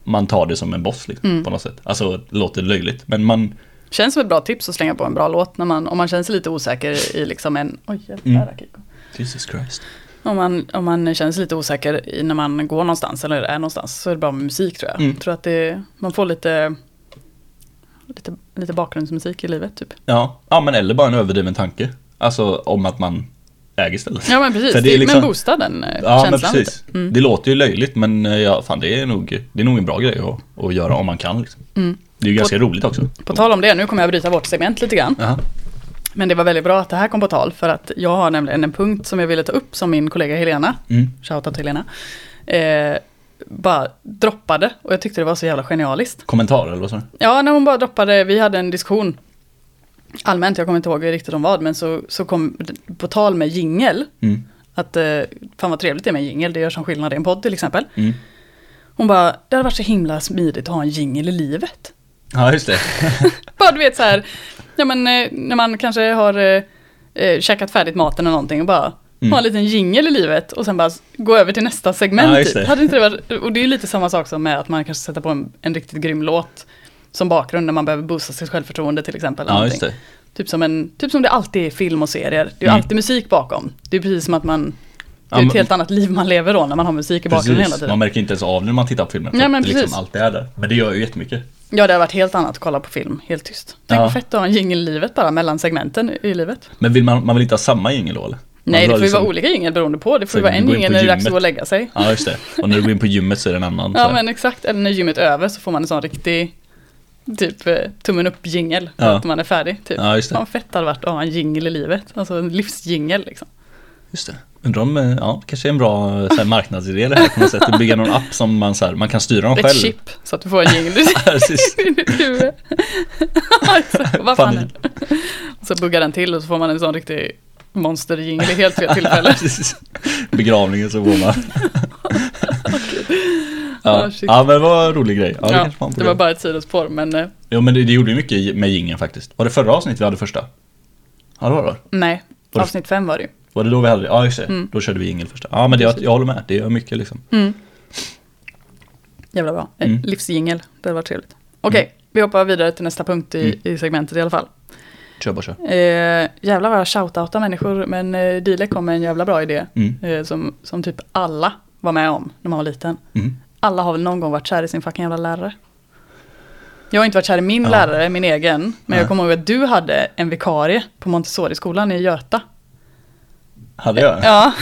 Speaker 1: man tar det som en boss liksom, på något sätt. Alltså det låter löjligt men man
Speaker 2: Känns som ett bra tips att slänga på en bra låt när man, om man känner sig lite osäker i liksom en, oj jävlar
Speaker 1: Mm.
Speaker 2: Akiko.
Speaker 1: Jesus Christ.
Speaker 2: Om man, om man känner sig lite osäker i när man går någonstans eller är någonstans så är det bra med musik tror jag.
Speaker 1: Mm.
Speaker 2: Jag tror att det, man får lite, lite, lite bakgrundsmusik i livet typ.
Speaker 1: Ja. ja men eller bara en överdriven tanke. Alltså om att man äg istället.
Speaker 2: Ja men precis,
Speaker 1: För det är
Speaker 2: Det-
Speaker 1: liksom-
Speaker 2: men boosta den eh,
Speaker 1: Ja, men
Speaker 2: känslan
Speaker 1: precis.
Speaker 2: lite. Mm.
Speaker 1: Det låter ju löjligt men eh, ja, fan, det, är nog, det är nog en bra grej att, att göra om man kan. Liksom. Det är ju ganska roligt också.
Speaker 2: Mm. På tal om det, nu kommer jag bryta vårt segment lite grann.
Speaker 1: Jaha.
Speaker 2: Men det var väldigt bra att det här kom på tal för att jag har nämligen en punkt som jag ville ta upp som min kollega Helena,
Speaker 1: Mm.
Speaker 2: shoutout till Helena, eh, bara droppade och jag tyckte det var så jävla genialiskt.
Speaker 1: Kommentar eller vad sa du?
Speaker 2: Ja, när hon bara droppade, vi hade en diskussion allmänt, jag kommer inte ihåg riktigt om vad, men så, så kom det på tal med jingel,
Speaker 1: Mm.
Speaker 2: att eh, fan vad trevligt det är med en jingel, det gör som skillnad i en podd till exempel.
Speaker 1: Mm.
Speaker 2: Hon bara, det hade varit så himla smidigt att ha en jingel i livet.
Speaker 1: Ja, just det.
Speaker 2: Bara du vet så här, ja, men, eh, när man kanske har eh, eh, käkat färdigt maten eller någonting och bara
Speaker 1: Mm.
Speaker 2: ha en liten jingel i livet och sen bara s- gå över till nästa segment.
Speaker 1: Ja, just
Speaker 2: typ.
Speaker 1: det.
Speaker 2: Hade inte det varit, och det är ju lite samma sak som med att man kanske sätter på en, en riktigt grym låt som bakgrund när man behöver boosta sitt självförtroende till exempel. eller
Speaker 1: Ja, just
Speaker 2: någonting.
Speaker 1: det.
Speaker 2: Typ, som en, typ som det alltid är i film och serier, det är ju
Speaker 1: Mm.
Speaker 2: alltid musik bakom. Det är precis som att man, det
Speaker 1: Ja,
Speaker 2: är ett
Speaker 1: men-
Speaker 2: helt annat liv man lever då när man har musik i bakgrunden hela
Speaker 1: Precis.
Speaker 2: tiden.
Speaker 1: Man märker inte ens av det när man tittar på filmen. för
Speaker 2: Nej,
Speaker 1: att
Speaker 2: men
Speaker 1: det liksom
Speaker 2: precis.
Speaker 1: allt är där. Men det gör ju jättemycket.
Speaker 2: Ja, det har varit helt annat att kolla på film, helt tyst. Tänk
Speaker 1: Ja.
Speaker 2: vad fett att ha en jingel i livet bara, mellan segmenten i livet.
Speaker 1: Men vill man, man vill inte ha samma jingel då eller?
Speaker 2: Nej,
Speaker 1: man
Speaker 2: det
Speaker 1: vill
Speaker 2: får
Speaker 1: ha
Speaker 2: ju vara
Speaker 1: liksom-
Speaker 2: olika jingel beroende på. Det får
Speaker 1: Så
Speaker 2: ju vara
Speaker 1: du
Speaker 2: en
Speaker 1: går in på
Speaker 2: jingel när det är dags att
Speaker 1: gymmet.
Speaker 2: gå och lägga sig.
Speaker 1: Ja, just det. Och när du går in på gymmet så är det en annan. så
Speaker 2: Ja,
Speaker 1: här.
Speaker 2: men exakt. Eller när gymmet är över så får man en sån riktig typ eh, tummen upp jingel för
Speaker 1: Ja.
Speaker 2: att man är färdig. Typ.
Speaker 1: Ja, just det.
Speaker 2: Fan fett hade varit att ha en jingel i livet. Alltså en livsjingel liksom.
Speaker 1: Just det. Undrar om, eh, ja, kanske är en bra eh, så här, marknadsidé det här på något sätt. Att bygga någon app som man, så här, man kan styra dem
Speaker 2: Ett
Speaker 1: själv.
Speaker 2: chip så att du får en jingel i
Speaker 1: Precis.
Speaker 2: ditt huvud. Ja, exakt. Vad fan är
Speaker 1: Panik.
Speaker 2: det? Och Så buggar den till och så får man en sån riktig monsterjingel i helt fel tillfälle.
Speaker 1: Precis. Begravningen så får man.
Speaker 2: Ah,
Speaker 1: ja.
Speaker 2: shit.
Speaker 1: ja, men vad rolig grej. Ja, det,
Speaker 2: Ja,
Speaker 1: kanske man
Speaker 2: det var bara ett sidospår men eh,
Speaker 1: Jo, men det, det gjorde ju mycket i- med jingeln faktiskt. Var det förra avsnittet vi hade första? Ja, det var det.
Speaker 2: nej,
Speaker 1: det-
Speaker 2: avsnitt fem var det ju.
Speaker 1: Var det då vi hade det? Ja, just det.
Speaker 2: Mm.
Speaker 1: Då körde vi jingel första. Ja, men det, jag, jag håller med. Det gör mycket liksom.
Speaker 2: Jävla bra. Eh,
Speaker 1: Mm.
Speaker 2: Livsjingel, det hade varit trevligt. Okej, vi hoppar vidare till nästa punkt i,
Speaker 1: Mm.
Speaker 2: i segmentet i alla fall.
Speaker 1: Kör bara kör.
Speaker 2: Eh, jävlar vad jag shoutoutar människor, men eh, Dilek kom med en jävla bra idé.
Speaker 1: Mm.
Speaker 2: Eh, som, som typ alla var med om när man var liten.
Speaker 1: Mm.
Speaker 2: Alla har väl någon gång varit kär i sin fucking jävla lärare. Jag har inte varit kär i min
Speaker 1: Ja.
Speaker 2: lärare, min egen, men
Speaker 1: Nej.
Speaker 2: jag kommer ihåg att du hade en vikarie på Montessori-skolan i Göta.
Speaker 1: Hade jag?
Speaker 2: Ja,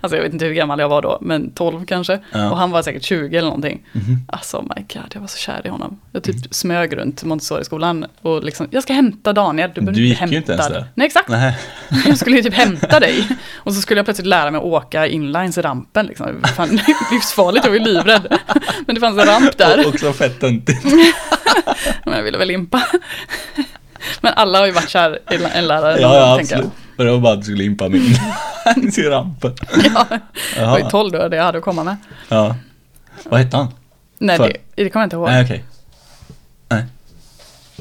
Speaker 2: alltså jag vet inte hur gammal jag var då, men 12 kanske.
Speaker 1: Ja. Mhm.
Speaker 2: Och han var säkert 20 eller någonting. Alltså my god, jag var så kär i honom. Jag typ
Speaker 1: Mm.
Speaker 2: smög runt Montessori-skolan och liksom, jag ska hämta Daniel. Du, behöver
Speaker 1: Du
Speaker 2: inte
Speaker 1: gick ju
Speaker 2: hämta
Speaker 1: inte ens
Speaker 2: dig."
Speaker 1: där.
Speaker 2: Nej exakt,
Speaker 1: Nej.
Speaker 2: jag skulle ju typ hämta dig. Och så skulle jag plötsligt lära mig att åka inlines i rampen liksom. Fan, livsfarligt, jag var ju livrädd. Men det fanns en ramp där.
Speaker 1: Och, också fett töntigt.
Speaker 2: Men jag ville väl impa. Men alla har ju varit kär i la- en lärare någon
Speaker 1: Ja, ja,
Speaker 2: gång, tänker jag.
Speaker 1: absolut. Men det var bara att du skulle impa min. Ni ser rampen.
Speaker 2: Ja, jag var ju
Speaker 1: Jaha.
Speaker 2: 12 då, det jag hade att komma med.
Speaker 1: Ja. Vad hette han?
Speaker 2: Nej,
Speaker 1: För-
Speaker 2: det, det kommer jag inte ihåg.
Speaker 1: Nej, okej. Nej.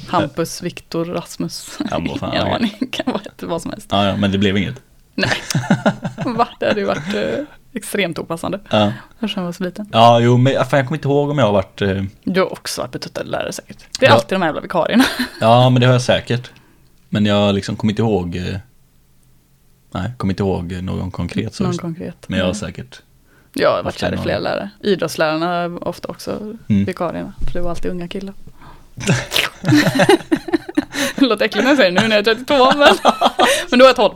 Speaker 2: Hampus, Viktor, Rasmus.
Speaker 1: Ja, men vad fan,
Speaker 2: Ingen
Speaker 1: okej.
Speaker 2: aning, kan vara ett- vad som helst.
Speaker 1: Ja, ja, men det blev inget.
Speaker 2: Nej, va? Det hade ju varit eh, extremt opassande.
Speaker 1: Ja,
Speaker 2: Eftersom jag var så liten.
Speaker 1: ja jo, men fan, jag kommer inte ihåg om jag har varit... eh,
Speaker 2: Du har också varit betuttad lärare säkert. Det är
Speaker 1: Ja.
Speaker 2: alltid de här jävla vikarierna.
Speaker 1: Ja, men det har jag säkert. Men jag liksom kommer inte ihåg... eh, Nej, kommer inte ihåg eh, någon konkret. Så
Speaker 2: Någon
Speaker 1: just.
Speaker 2: konkret.
Speaker 1: Men jag har
Speaker 2: Mm.
Speaker 1: säkert...
Speaker 2: jag har varit
Speaker 1: haft
Speaker 2: kär i
Speaker 1: någon.
Speaker 2: flera lärare. Idrottslärarna var ofta också
Speaker 1: Mm.
Speaker 2: vikarierna. För det var alltid unga killar. Det låter äckligt när jag säger det nu när jag är 32 men, men då är jag 12.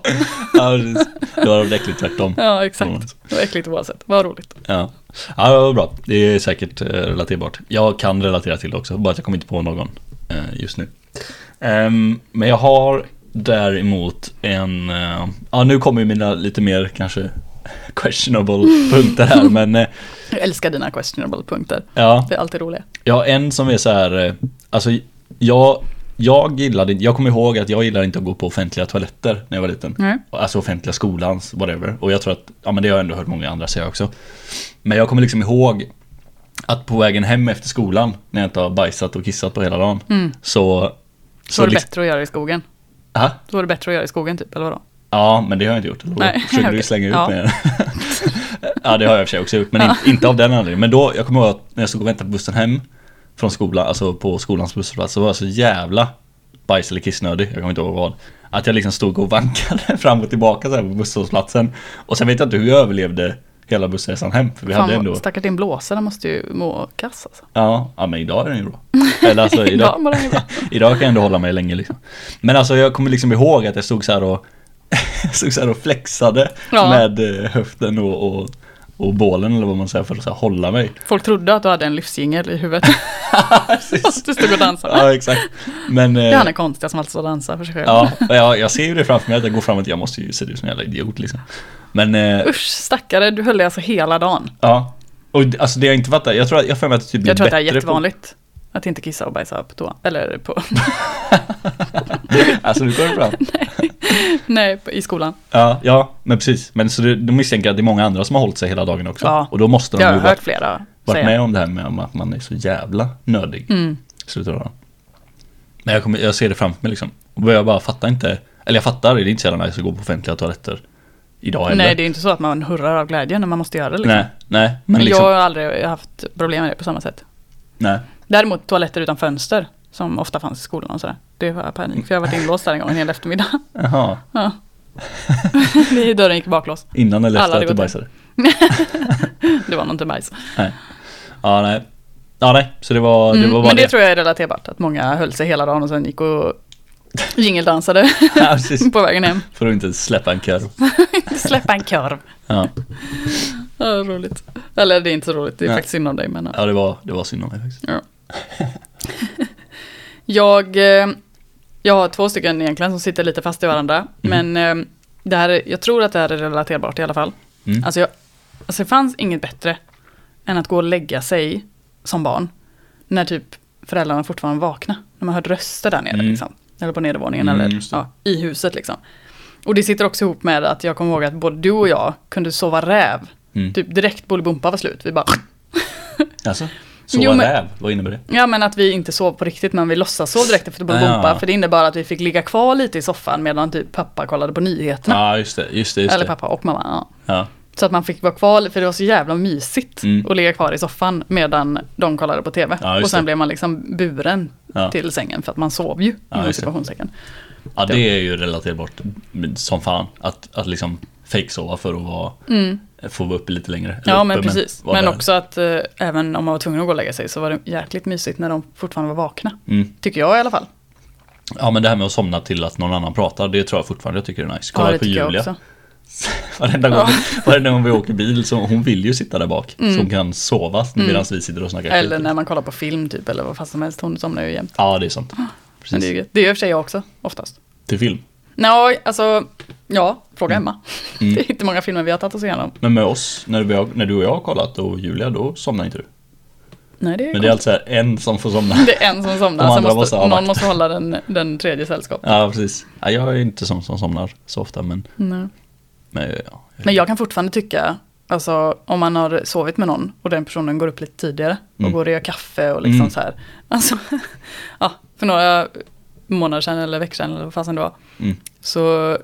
Speaker 1: Ja, precis. det var det äckligt tvärtom.
Speaker 2: Ja
Speaker 1: Mm.
Speaker 2: exakt. Det var äckligt oavsett. Vad roligt.
Speaker 1: Ja. ja, det var bra. Det är säkert eh, relaterbart. Jag kan relatera till det också, bara att jag kommer inte på någon eh, just nu. Ehm, men jag har däremot en... eh, ja, nu kommer ju mina lite mer kanske questionable punkter här, men eh,
Speaker 2: Jag älskar dina questionable punkter.
Speaker 1: ja,
Speaker 2: Det är alltid roliga.
Speaker 1: jag har en som är så här... eh, alltså, jag, jag gillade... Jag kommer ihåg att jag gillade inte att gå på offentliga toaletter när jag var liten.
Speaker 2: Nej.
Speaker 1: Alltså offentliga skolans, whatever. Och jag tror att, ja men det har jag ändå hört många andra säga också. Men jag kommer liksom ihåg att på vägen hem efter skolan, när jag inte har bajsat och kissat på hela dagen, så...
Speaker 2: Så Mm. var det
Speaker 1: liksom-
Speaker 2: bättre att göra i skogen.
Speaker 1: Aha.
Speaker 2: Då var det bättre att göra i skogen typ, eller vadå?
Speaker 1: Ja, men det har jag inte gjort. Då
Speaker 2: Nej,
Speaker 1: försöker
Speaker 2: okej.
Speaker 1: du slänga ut
Speaker 2: Ja.
Speaker 1: mig. ja, det har jag i och för sig också gjort, men inte, inte av den anledningen. Men då, jag kommer ihåg att när jag stod och väntade på bussen hem från skolan, alltså på skolans busshållplats, så var jag så jävla bajs eller kissnödig, jag kommer inte ihåg vad. Att jag liksom stod och vankade fram och tillbaka så här på busshållplatsen. Och sen vet jag inte hur jag överlevde hela bussresan hem, för vi hade
Speaker 2: Fan,
Speaker 1: ändå...
Speaker 2: vad- stackars din blåsare måste ju må kass alltså.
Speaker 1: Ja, ja, men idag är den ju bra. Eller alltså,
Speaker 2: Idag
Speaker 1: idag,
Speaker 2: mår den ju bra.
Speaker 1: idag kan jag ändå hålla mig länge liksom. Men alltså jag kommer liksom ihåg att jag stod så här och stod så här och flexade
Speaker 2: Ja.
Speaker 1: med eh, höften och, och, och bålen eller vad man säger för att så här, hålla mig.
Speaker 2: Folk trodde att du hade en livsjingel i huvudet. och så du stod och dansade.
Speaker 1: Ja, exakt. Men, eh,
Speaker 2: Det är han är konstiga som alltid står och dansar för sig själv.
Speaker 1: ja, jag, jag ser ju det framför mig att jag går fram och jag måste ju se ut som en jävla idiot liksom. Men eh,
Speaker 2: Usch stackare, du höll dig alltså hela dagen.
Speaker 1: ja, och d- alltså det jag inte fattar, jag tror att jag har för mig att det typ blir
Speaker 2: Jag tror att det
Speaker 1: bättre
Speaker 2: är jättevanligt. Att inte kissa och bajsa på toa. Eller på,
Speaker 1: på... Alltså nu går det bra.
Speaker 2: nej, på, i skolan.
Speaker 1: Ja, ja, men precis. Men så det- de misstänker att det är många andra som har hållit sig hela dagen också.
Speaker 2: Ja.
Speaker 1: Och då måste de
Speaker 2: Jag har
Speaker 1: ju
Speaker 2: hört
Speaker 1: varit,
Speaker 2: flera
Speaker 1: varit
Speaker 2: säga.
Speaker 1: med om det här med om att man är så jävla nödig.
Speaker 2: Mm.
Speaker 1: slutar då. Men jag, kommer, jag ser det framför mig liksom. Och jag bara fattar inte. Eller jag fattar, det är inte så jävla nice att gå på offentliga toaletter idag heller.
Speaker 2: Nej, det är ju inte så att man hurrar av glädje när man måste göra det. Liksom.
Speaker 1: nej, nej, men
Speaker 2: Men
Speaker 1: liksom,
Speaker 2: Jag har aldrig haft problem med det på samma sätt.
Speaker 1: nej.
Speaker 2: Däremot toaletter utan fönster, som ofta fanns i skolan och sådär. Det var panik, för jag har varit inlåst där en gång en hel eftermiddag.
Speaker 1: Jaha,
Speaker 2: Ja. Det- Dörren gick baklås.
Speaker 1: innan eller
Speaker 2: Alla
Speaker 1: efter
Speaker 2: hade
Speaker 1: att du
Speaker 2: gått
Speaker 1: bajsade?
Speaker 2: Det var nog inte bajs.
Speaker 1: Ja, nej. Ja, nej, så det var, det var
Speaker 2: Mm,
Speaker 1: bara
Speaker 2: men det, tror jag är relaterbart, att många höll sig hela dagen och sen gick och jingeldansade
Speaker 1: Ja, precis.
Speaker 2: på vägen hem.
Speaker 1: För att inte släppa en korv.
Speaker 2: Släppa en korv.
Speaker 1: Ja,
Speaker 2: Ja, roligt. Eller det är inte så roligt, det är
Speaker 1: Nej.
Speaker 2: faktiskt synd om dig. Men, ja.
Speaker 1: ja det, var, det var synd om mig faktiskt.
Speaker 2: jag, eh, jag har två stycken egentligen som sitter lite fast i varandra. Men eh, det här, är- jag tror att det här är relaterbart i alla fall.
Speaker 1: Mm.
Speaker 2: Alltså, jag, alltså det fanns inget bättre än att gå och lägga sig som barn. När typ föräldrarna fortfarande vakna. När man hörde röster där nere
Speaker 1: Mm.
Speaker 2: liksom. Eller på nedervåningen
Speaker 1: Mm,
Speaker 2: eller
Speaker 1: just det.
Speaker 2: ja, i huset liksom. Och det sitter också ihop med att jag kommer ihåg att både du och jag kunde sova räv.
Speaker 1: Mm.
Speaker 2: Typ direkt Bolibompa var slut. Vi bara
Speaker 1: Alltså, sova
Speaker 2: Jo, men-
Speaker 1: räv, vad innebär det?
Speaker 2: Ja men att vi inte sov på riktigt men vi låtsas sov direkt efter Bolibompa.
Speaker 1: Ja.
Speaker 2: För det innebar att vi fick ligga kvar lite i soffan medan typ pappa kollade på nyheterna.
Speaker 1: Ja, just det, just det, just
Speaker 2: Eller
Speaker 1: det.
Speaker 2: pappa och mamma. Ja.
Speaker 1: Ja.
Speaker 2: Så att man fick vara kvar, för det var så jävla mysigt
Speaker 1: Mm.
Speaker 2: att ligga kvar i soffan medan de kollade på TV.
Speaker 1: Ja, just
Speaker 2: och sen
Speaker 1: det.
Speaker 2: blev man liksom buren
Speaker 1: Ja.
Speaker 2: till sängen för att man sov ju
Speaker 1: Ja,
Speaker 2: inom
Speaker 1: just det.
Speaker 2: situationssäcken.
Speaker 1: Ja, det är ju relaterbart som fan. Att, att liksom fejksova för att vara, få vara uppe lite längre. Eller
Speaker 2: Mm. Ja men
Speaker 1: uppe,
Speaker 2: precis.
Speaker 1: vara
Speaker 2: Men,
Speaker 1: där.
Speaker 2: också att eh, även om man var tvungen att gå och lägga sig så var det jäkligt mysigt när de fortfarande var vakna.
Speaker 1: Mm.
Speaker 2: Tycker jag i alla fall.
Speaker 1: Ja, men det här med att somna till att någon annan pratar, det tror jag fortfarande jag tycker är nice.
Speaker 2: Ja
Speaker 1: Kolla
Speaker 2: det
Speaker 1: på
Speaker 2: tycker jag
Speaker 1: Julia.
Speaker 2: också.
Speaker 1: Varenda gång, varenda gång vi åker bil, så hon vill ju sitta där bak. Så hon kan sova medan vi sitter och snackar
Speaker 2: Mm. Eller
Speaker 1: skit.
Speaker 2: när man kollar på film typ eller vad fan som helst. Hon somnar ju jämt.
Speaker 1: Ja, det är sant. Precis.
Speaker 2: Men det, är ju gött. det gör i och för sig jag också, oftast.
Speaker 1: Till film.
Speaker 2: Nej, alltså, ja, fråga
Speaker 1: Mm.
Speaker 2: Emma. Det är inte många filmer vi har tagit oss igenom.
Speaker 1: Men med oss, när, vi har, när du och jag har kollat och Julia, då somnar inte du.
Speaker 2: Nej, det är,
Speaker 1: Men det är
Speaker 2: konstigt.
Speaker 1: alltså här, en som får somna.
Speaker 2: det är en som somnar,
Speaker 1: De
Speaker 2: så
Speaker 1: andra
Speaker 2: måste,
Speaker 1: måste ha
Speaker 2: någon
Speaker 1: varit.
Speaker 2: måste hålla den, den tredje sällskap.
Speaker 1: Ja, precis. Ja, jag är inte sån som somnar så ofta, men...
Speaker 2: Nej.
Speaker 1: men ja, jag-
Speaker 2: Men jag kan fortfarande tycka, alltså om man har sovit med någon och den personen går upp lite tidigare och
Speaker 1: Mm.
Speaker 2: går och gör kaffe och liksom
Speaker 1: Mm.
Speaker 2: så här. Alltså, ja, för några månader sedan eller veckor sedan eller vad fasen det var,
Speaker 1: Mm.
Speaker 2: så,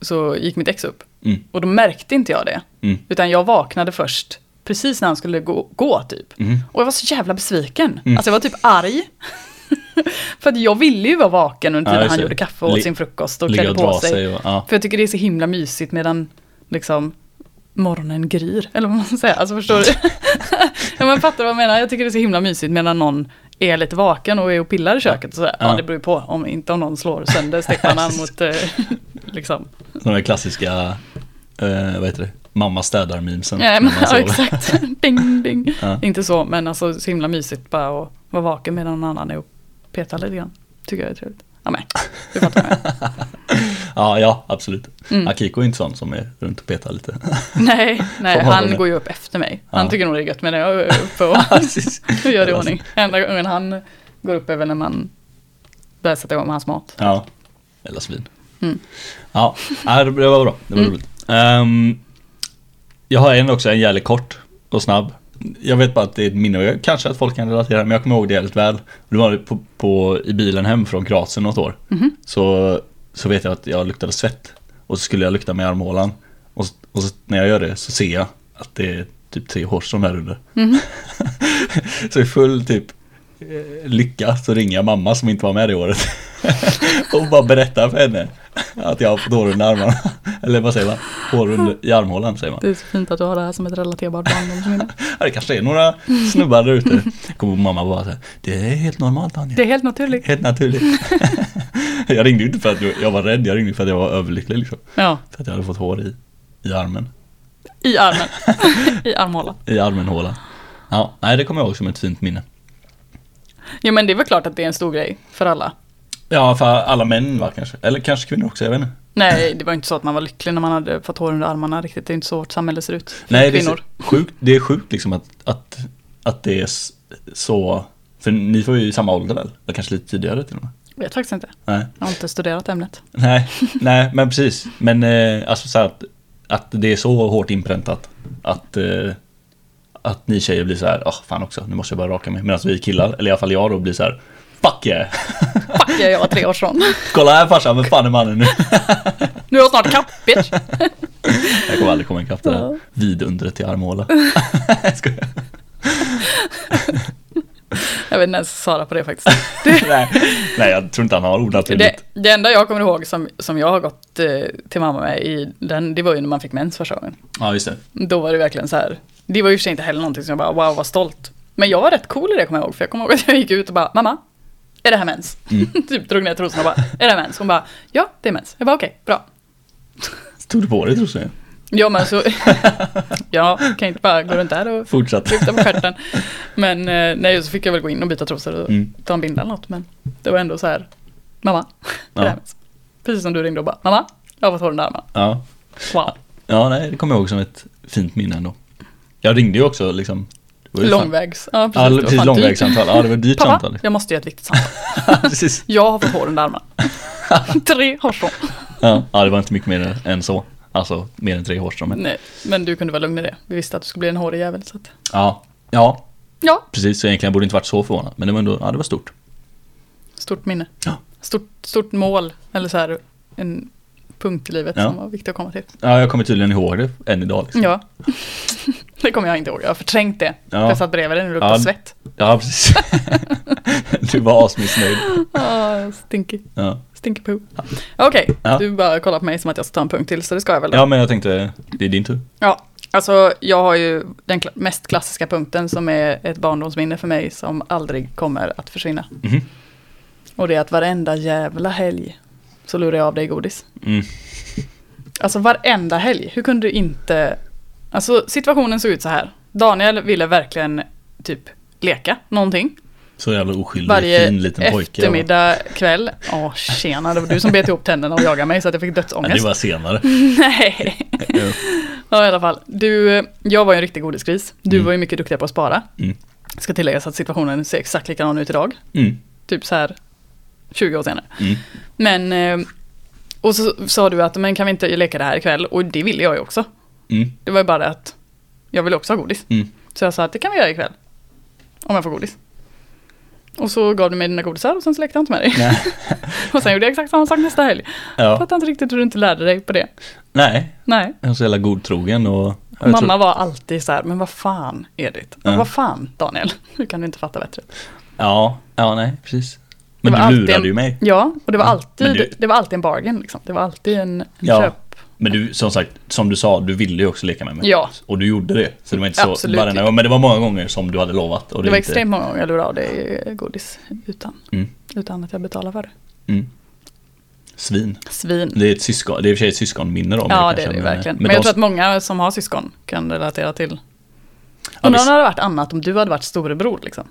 Speaker 2: så gick mitt ex upp.
Speaker 1: Mm.
Speaker 2: Och då märkte inte jag det.
Speaker 1: Mm.
Speaker 2: Utan jag vaknade först precis när han skulle gå, gå typ.
Speaker 1: Mm.
Speaker 2: Och jag var så jävla besviken. Alltså jag var typ arg. för att jag ville ju vara vaken under
Speaker 1: Ja,
Speaker 2: tiden
Speaker 1: just
Speaker 2: han
Speaker 1: det.
Speaker 2: gjorde kaffe och åt
Speaker 1: Lig-
Speaker 2: sin frukost och
Speaker 1: Ligga
Speaker 2: klädde
Speaker 1: och
Speaker 2: på
Speaker 1: dra
Speaker 2: sig.
Speaker 1: sig och... Ja.
Speaker 2: För jag tycker det är så himla mysigt medan liksom morgonen gryr. Eller vad man ska säga. Alltså förstår du? ja, men fattar du vad jag menar? Jag tycker det är så himla mysigt medan någon är lite vaken och är och pillar i köket. Och så här. Ja.
Speaker 1: Ja.
Speaker 2: det beror ju på. Om, inte om någon slår sönder stekpannan mot eh, liksom
Speaker 1: De där klassiska, eh, vad heter det, mamma städar memesen.
Speaker 2: Ja, men, ja
Speaker 1: sover.
Speaker 2: exakt. ding, ding.
Speaker 1: Ja.
Speaker 2: Inte så, men alltså så himla mysigt bara att vara vaken medan någon annan är och petar lite grann. Tycker jag är trevligt. Ja, men du fattar vad jag menar.
Speaker 1: ja, ja, absolut.
Speaker 2: Mm.
Speaker 1: Akiko är inte sån som är runt och petar lite.
Speaker 2: Nej, nej,
Speaker 1: På
Speaker 2: han
Speaker 1: morgonen.
Speaker 2: går ju upp efter mig. Han
Speaker 1: Ja.
Speaker 2: tycker nog det är gött men jag är uppe och
Speaker 1: Precis.
Speaker 2: och gör det i ordning. Enda gången han går upp är väl när man börjar sätta igång med hans mat.
Speaker 1: Ja, eller svin.
Speaker 2: Mm.
Speaker 1: Ja, ja, det det var bra. Det var roligt. Ehm, jag har en också, en jävligt kort och snabb. Jag vet bara att det är ett minne och jag, kanske att folk kan relatera, men jag kommer ihåg det jävligt väl. Det var på, på, i bilen hem från Kroatien något år. Så, så vet jag att jag luktade svett och så skulle jag lukta med armhålan. Och, s- och så, när jag gör det så ser jag att det är typ tre hårstrån där under. så i full typ eh, lycka så ringer jag mamma som inte var med det året. och bara berättar för henne att jag har fått hår under armarna. Eller vad säger man? Hår under, i armhålan säger man.
Speaker 2: Det är så fint att du har det här som ett relaterbart barndomsminne.
Speaker 1: Ja, det kanske är några snubbar där ute. Kommer mamma bara så här, det är helt normalt Anja.
Speaker 2: Det är helt naturligt.
Speaker 1: Helt naturligt. jag ringde ju inte för att jag var rädd, jag ringde för att jag var överlycklig liksom.
Speaker 2: Ja,
Speaker 1: För att jag hade fått hår i, i armen.
Speaker 2: i armen. I armhålan.
Speaker 1: I armenhålan. Ja, nej det kommer jag ihåg som ett fint minne.
Speaker 2: Jo men det är väl klart att det är en stor grej för alla.
Speaker 1: Ja, för alla män va kanske. Eller kanske kvinnor också, jag vet inte.
Speaker 2: Nej, det var inte så att man var lycklig när man hade fått hår under armarna riktigt. Det är inte så vårt samhälle ser ut. För
Speaker 1: Nej, det är, så
Speaker 2: kvinnor.
Speaker 1: sjukt, det är sjukt liksom att, att, att det är s- så. För ni får ju samma ålder väl? Eller kanske lite tidigare till och med?
Speaker 2: Jag vet faktiskt inte.
Speaker 1: Nej,
Speaker 2: Jag har inte studerat ämnet.
Speaker 1: nej, nej men precis. Men eh, alltså så här att, att det är så hårt inpräntat att, eh, att ni tjejer blir så här, ah fan också, nu måste jag börja raka mig. Medan vi killar, eller i alla fall jag då, blir så här, fuck yeah!
Speaker 2: Fuck jag, jag var tre år sedan.
Speaker 1: Kolla här farsan, vem fan är mannen nu?
Speaker 2: Nu är jag snart kapp, bitch.
Speaker 1: Jag kommer aldrig komma ikapp det där
Speaker 2: Ja.
Speaker 1: vidundret i armhåla. Jag skojar.
Speaker 2: Jag vet inte ens svara på det faktiskt.
Speaker 1: nej, nej, jag tror inte han har onaturligt.
Speaker 2: Det, det enda jag kommer ihåg som, som jag har gått eh, till mamma med i den, det var ju när man fick mens första gången.
Speaker 1: Ja, just det.
Speaker 2: Då var det verkligen så här. Det var ju i och för sig inte heller någonting som jag bara, wow, vad stolt. Men jag var rätt cool i det kommer jag ihåg, för jag kommer ihåg att jag gick ut och bara, mamma, är det här mens?
Speaker 1: Mm.
Speaker 2: typ drog ner trosorna och bara, är det här mens? Hon bara, ja, det är mens. Jag bara, okej, bra.
Speaker 1: Tog du på dig trosorna?
Speaker 2: Ja, men så, ja, kan jag inte bara gå runt där och
Speaker 1: Fortsatt.
Speaker 2: lyfta på stjärten. Men eh, nej, så fick jag väl gå in och byta trosor och
Speaker 1: Mm.
Speaker 2: ta en bindel eller något, men det var ändå så här, mamma, är
Speaker 1: Ja.
Speaker 2: det här mens? Precis som du ringde och bara, mamma, jag har fått hår under armarna.
Speaker 1: Ja.
Speaker 2: Wow.
Speaker 1: ja, nej, det kommer jag ihåg som ett fint minne ändå. Jag ringde ju också liksom. det var ju fan-
Speaker 2: Långvägs. Ja, precis.
Speaker 1: Ja,
Speaker 2: det var
Speaker 1: precis.
Speaker 2: fan typ.
Speaker 1: Långvägssamtal. Ja, det var ett dyrt
Speaker 2: Pappa,
Speaker 1: samtal.
Speaker 2: jag måste göra ett viktigt samtal.
Speaker 1: Ja, precis.
Speaker 2: Jag har fått hår under armarna. tre hårstrån.
Speaker 1: Ja. ja, det var inte mycket mer än så. Alltså, mer än tre hårstrån. men-
Speaker 2: Nej, men du kunde vara lugn i det. Vi visste att du skulle bli en hårig jävel. Så att...
Speaker 1: Ja. ja,
Speaker 2: Ja,
Speaker 1: precis. Så egentligen borde jag inte varit så förvånad. Men det var ändå, ja, det var stort.
Speaker 2: stort minne.
Speaker 1: Ja.
Speaker 2: Stort, stort mål, eller så här en punkt i livet
Speaker 1: Ja.
Speaker 2: som var viktig att komma till.
Speaker 1: Ja, jag kommer tydligen ihåg det än idag. Liksom.
Speaker 2: Ja. Det kommer jag inte ihåg, jag har förträngt det.
Speaker 1: Ja.
Speaker 2: Jag satt bredvid dig när
Speaker 1: Ja.
Speaker 2: du luktade svett.
Speaker 1: ja, precis. du var asmissnöjd.
Speaker 2: Ah, stinky,
Speaker 1: Ja.
Speaker 2: stinky poo. Okej,
Speaker 1: Ja.
Speaker 2: du bara kollar på mig som att jag ska ta en punkt till, så det ska jag väl då.
Speaker 1: ja, men jag tänkte, det är din tur.
Speaker 2: Ja, alltså jag har ju den kla- mest klassiska punkten som är ett barndomsminne för mig som aldrig kommer att försvinna.
Speaker 1: Mhm.
Speaker 2: Och det är att varenda jävla helg så lurar jag av dig godis.
Speaker 1: Mm.
Speaker 2: Alltså varenda helg, hur kunde du inte... Alltså situationen såg ut så här. Daniel ville verkligen typ leka någonting.
Speaker 1: Så jävla oskyldig,
Speaker 2: Varje
Speaker 1: fin liten pojke. jag var.
Speaker 2: eftermiddag, kväll. Åh tjena, det var du som bet ihop tänderna och jagade mig så att jag fick
Speaker 1: Ja, det
Speaker 2: dödsångest.
Speaker 1: var senare.
Speaker 2: Nej.
Speaker 1: Ja.
Speaker 2: Ja i alla fall. Du, eh, jag var ju en riktig godisgris. Du
Speaker 1: Mm.
Speaker 2: var ju mycket duktigare på att spara.
Speaker 1: Mm.
Speaker 2: Ska tilläggas att situationen ser exakt likadan ut idag.
Speaker 1: Mm.
Speaker 2: Typ så här 20 år senare.
Speaker 1: Mm.
Speaker 2: Men, eh, och så sa du att men kan vi inte leka det här ikväll? Och det ville jag ju också.
Speaker 1: Mm.
Speaker 2: Det var ju bara det att jag ville också ha godis.
Speaker 1: Mm.
Speaker 2: Så jag sa att det kan vi göra ikväll. Om jag får godis. Och så gav du mig dina godisar och sen så lekte jag inte med dig.
Speaker 1: Nej.
Speaker 2: och sen gjorde jag exakt samma sak nästa helg. Jag
Speaker 1: Ja.
Speaker 2: fattar inte riktigt hur du inte lärde dig på det.
Speaker 1: Nej,
Speaker 2: Nej.
Speaker 1: jag är så jävla godtrogen och... jag
Speaker 2: Och mamma
Speaker 1: tror-
Speaker 2: var alltid så här, men vad fan Edith?
Speaker 1: Ja.
Speaker 2: Vad fan Daniel? Hur kan du inte fatta bättre?
Speaker 1: Ja, ja nej, precis. Men
Speaker 2: Det
Speaker 1: du
Speaker 2: var alltid
Speaker 1: lurade
Speaker 2: en-
Speaker 1: ju mig.
Speaker 2: Ja, och det var
Speaker 1: Ja,
Speaker 2: alltid,
Speaker 1: men du-
Speaker 2: det var alltid en bargain liksom. Det var alltid en, en
Speaker 1: Ja,
Speaker 2: köp.
Speaker 1: Men du, som sagt, som du sa, du ville ju också leka med mig.
Speaker 2: Ja.
Speaker 1: Och du gjorde det. Så det var inte så...
Speaker 2: Absolut.
Speaker 1: Bara, men det var många gånger som du hade lovat. Och
Speaker 2: Det var
Speaker 1: inte...
Speaker 2: extremt många gånger jag lurade av dig eh, godis utan,
Speaker 1: Mm.
Speaker 2: utan att jag betalade för det.
Speaker 1: Mm. Svin.
Speaker 2: Svin.
Speaker 1: Det är, ett syskon, det är i och för sig ett syskonminne då. men
Speaker 2: Ja,
Speaker 1: kanske-
Speaker 2: det är det ju
Speaker 1: men-
Speaker 2: verkligen.
Speaker 1: Men,
Speaker 2: Men, jag
Speaker 1: de,
Speaker 2: tror att många som har syskon kan relatera till.
Speaker 1: ja,
Speaker 2: Undrar
Speaker 1: visst.
Speaker 2: om det hade varit annat om du hade varit storebror liksom.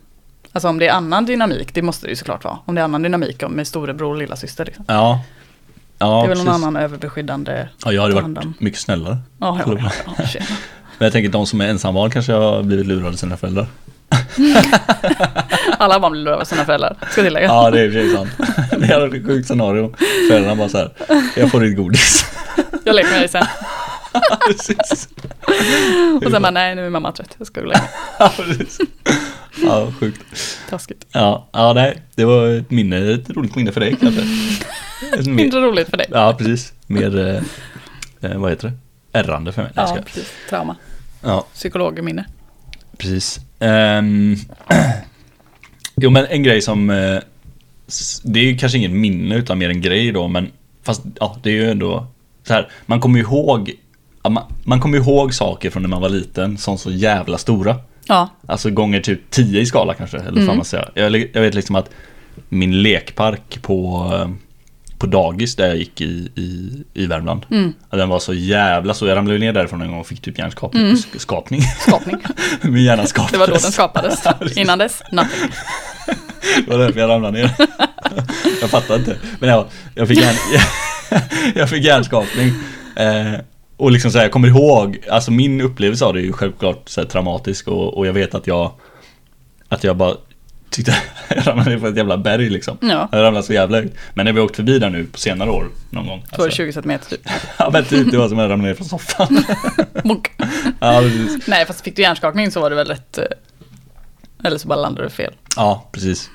Speaker 2: Alltså om det är annan dynamik, det måste det ju såklart vara. Om det är annan dynamik om med storebror och lilla syster. Liksom.
Speaker 1: Ja. Ja,
Speaker 2: det är väl någon
Speaker 1: precis.
Speaker 2: annan överbeskyddande...
Speaker 1: Ja, jag hade
Speaker 2: Ta hand om.
Speaker 1: varit mycket snällare.
Speaker 2: Ja, ja, ja, ja, shit.
Speaker 1: Men jag tänker de som är ensambarn kanske har blivit lurade av sina föräldrar.
Speaker 2: Alla barn blir lurade av sina föräldrar, ska jag tillägga.
Speaker 1: Ja, det är i och för sig sant. Det hade varit ett sjukt scenario. Föräldrarna bara så här, jag får ditt godis.
Speaker 2: Jag leker med dig sen.
Speaker 1: Precis.
Speaker 2: Och sen bara, nej nu är mamma trött, jag ska gå och lägga mig.
Speaker 1: Ja, precis. Ja, sjukt.
Speaker 2: Taskigt.
Speaker 1: Ja, ja, nej. Det var ett minne, ett roligt minne för dig kanske. Ett mer-
Speaker 2: Mindre roligt för dig.
Speaker 1: Ja, precis. Mer, eh, eh, vad heter det? Ärrande för mig. Nej, jag
Speaker 2: Ja,
Speaker 1: skojar.
Speaker 2: precis. Trauma.
Speaker 1: ja
Speaker 2: Psykologminne.
Speaker 1: precis. Ehm, jo, men en grej som, eh, s- det är ju kanske inget minne utan mer en grej då, men fast ja, det är ju ändå så här, man kommer ju ihåg, ja, man, man kommer ju ihåg saker från när man var liten som så jävla stora.
Speaker 2: Ja,
Speaker 1: Alltså gånger typ 10 i
Speaker 2: Mm.
Speaker 1: skala kanske, eller vad fan man säger. Jag, jag vet liksom att min lekpark på, eh, på dagis där jag gick i, i, i Värmland.
Speaker 2: Mm.
Speaker 1: Att Den var så jävla så Jag ramlade ju ner därifrån en gång och fick typ hjärnskakning. sk- Skapning.
Speaker 2: Skapning.
Speaker 1: Min hjärna skapades.
Speaker 2: Mm. Det var då den skapades. Innan dess, nothing.
Speaker 1: Det var därför jag ramlade ner. Jag fattar inte. Men jag, jag fick, hjärn, jag fick hjärnskakning. Eh, och liksom så här, jag kommer ihåg, alltså min upplevelse av det är ju självklart så här traumatisk och, och jag vet att jag Att jag bara tyckte jag ramlade ner på ett jävla berg liksom.
Speaker 2: Ja.
Speaker 1: Jag ramlade så jävla högt. Men när vi har åkt förbi där nu på senare år någon gång.
Speaker 2: Då var det
Speaker 1: Alltså,
Speaker 2: 20 centimeter typ.
Speaker 1: ja men typ, det var som att jag ramlade ner från soffan.
Speaker 2: Bonk.
Speaker 1: Ja precis.
Speaker 2: Nej, fast fick du hjärnskakning så var det väl rätt... eh, Eller så bara landade du fel.
Speaker 1: Ja, precis.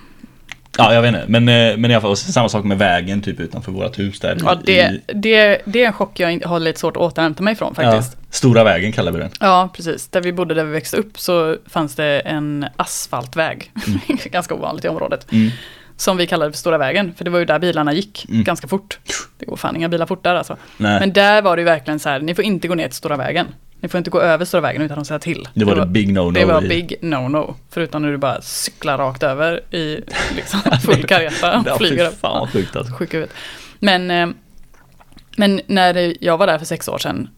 Speaker 1: Ja, jag vet inte. Men, eh, men i alla fall, och samma sak med vägen typ utanför vårt hus där.
Speaker 2: Ja,
Speaker 1: i-
Speaker 2: det, det, det är en chock jag in- har lite svårt att återhämta mig ifrån faktiskt.
Speaker 1: Ja, stora vägen kallar vi den.
Speaker 2: Ja. precis. Där vi bodde, där vi växte upp, så fanns det en asfaltväg. ganska ovanligt i området.
Speaker 1: Mm.
Speaker 2: Som vi kallade för Stora vägen, för det var ju där bilarna gick
Speaker 1: Mm.
Speaker 2: ganska fort. Det går fan inga bilar fort där alltså.
Speaker 1: Nej,
Speaker 2: Men där var det ju verkligen så här, ni får inte gå ner till Stora vägen. Ni får inte gå över Stora vägen utan att säga till.
Speaker 1: det var det big no-no.
Speaker 2: Det var
Speaker 1: i-
Speaker 2: big no-no. Förutom när du bara cyklar rakt över i liksom full kareta.
Speaker 1: Ja, fy
Speaker 2: flyger upp.
Speaker 1: fan vad sjukt alltså.
Speaker 2: Sjuk ut. Men, eh, men när jag var där för sex år sedan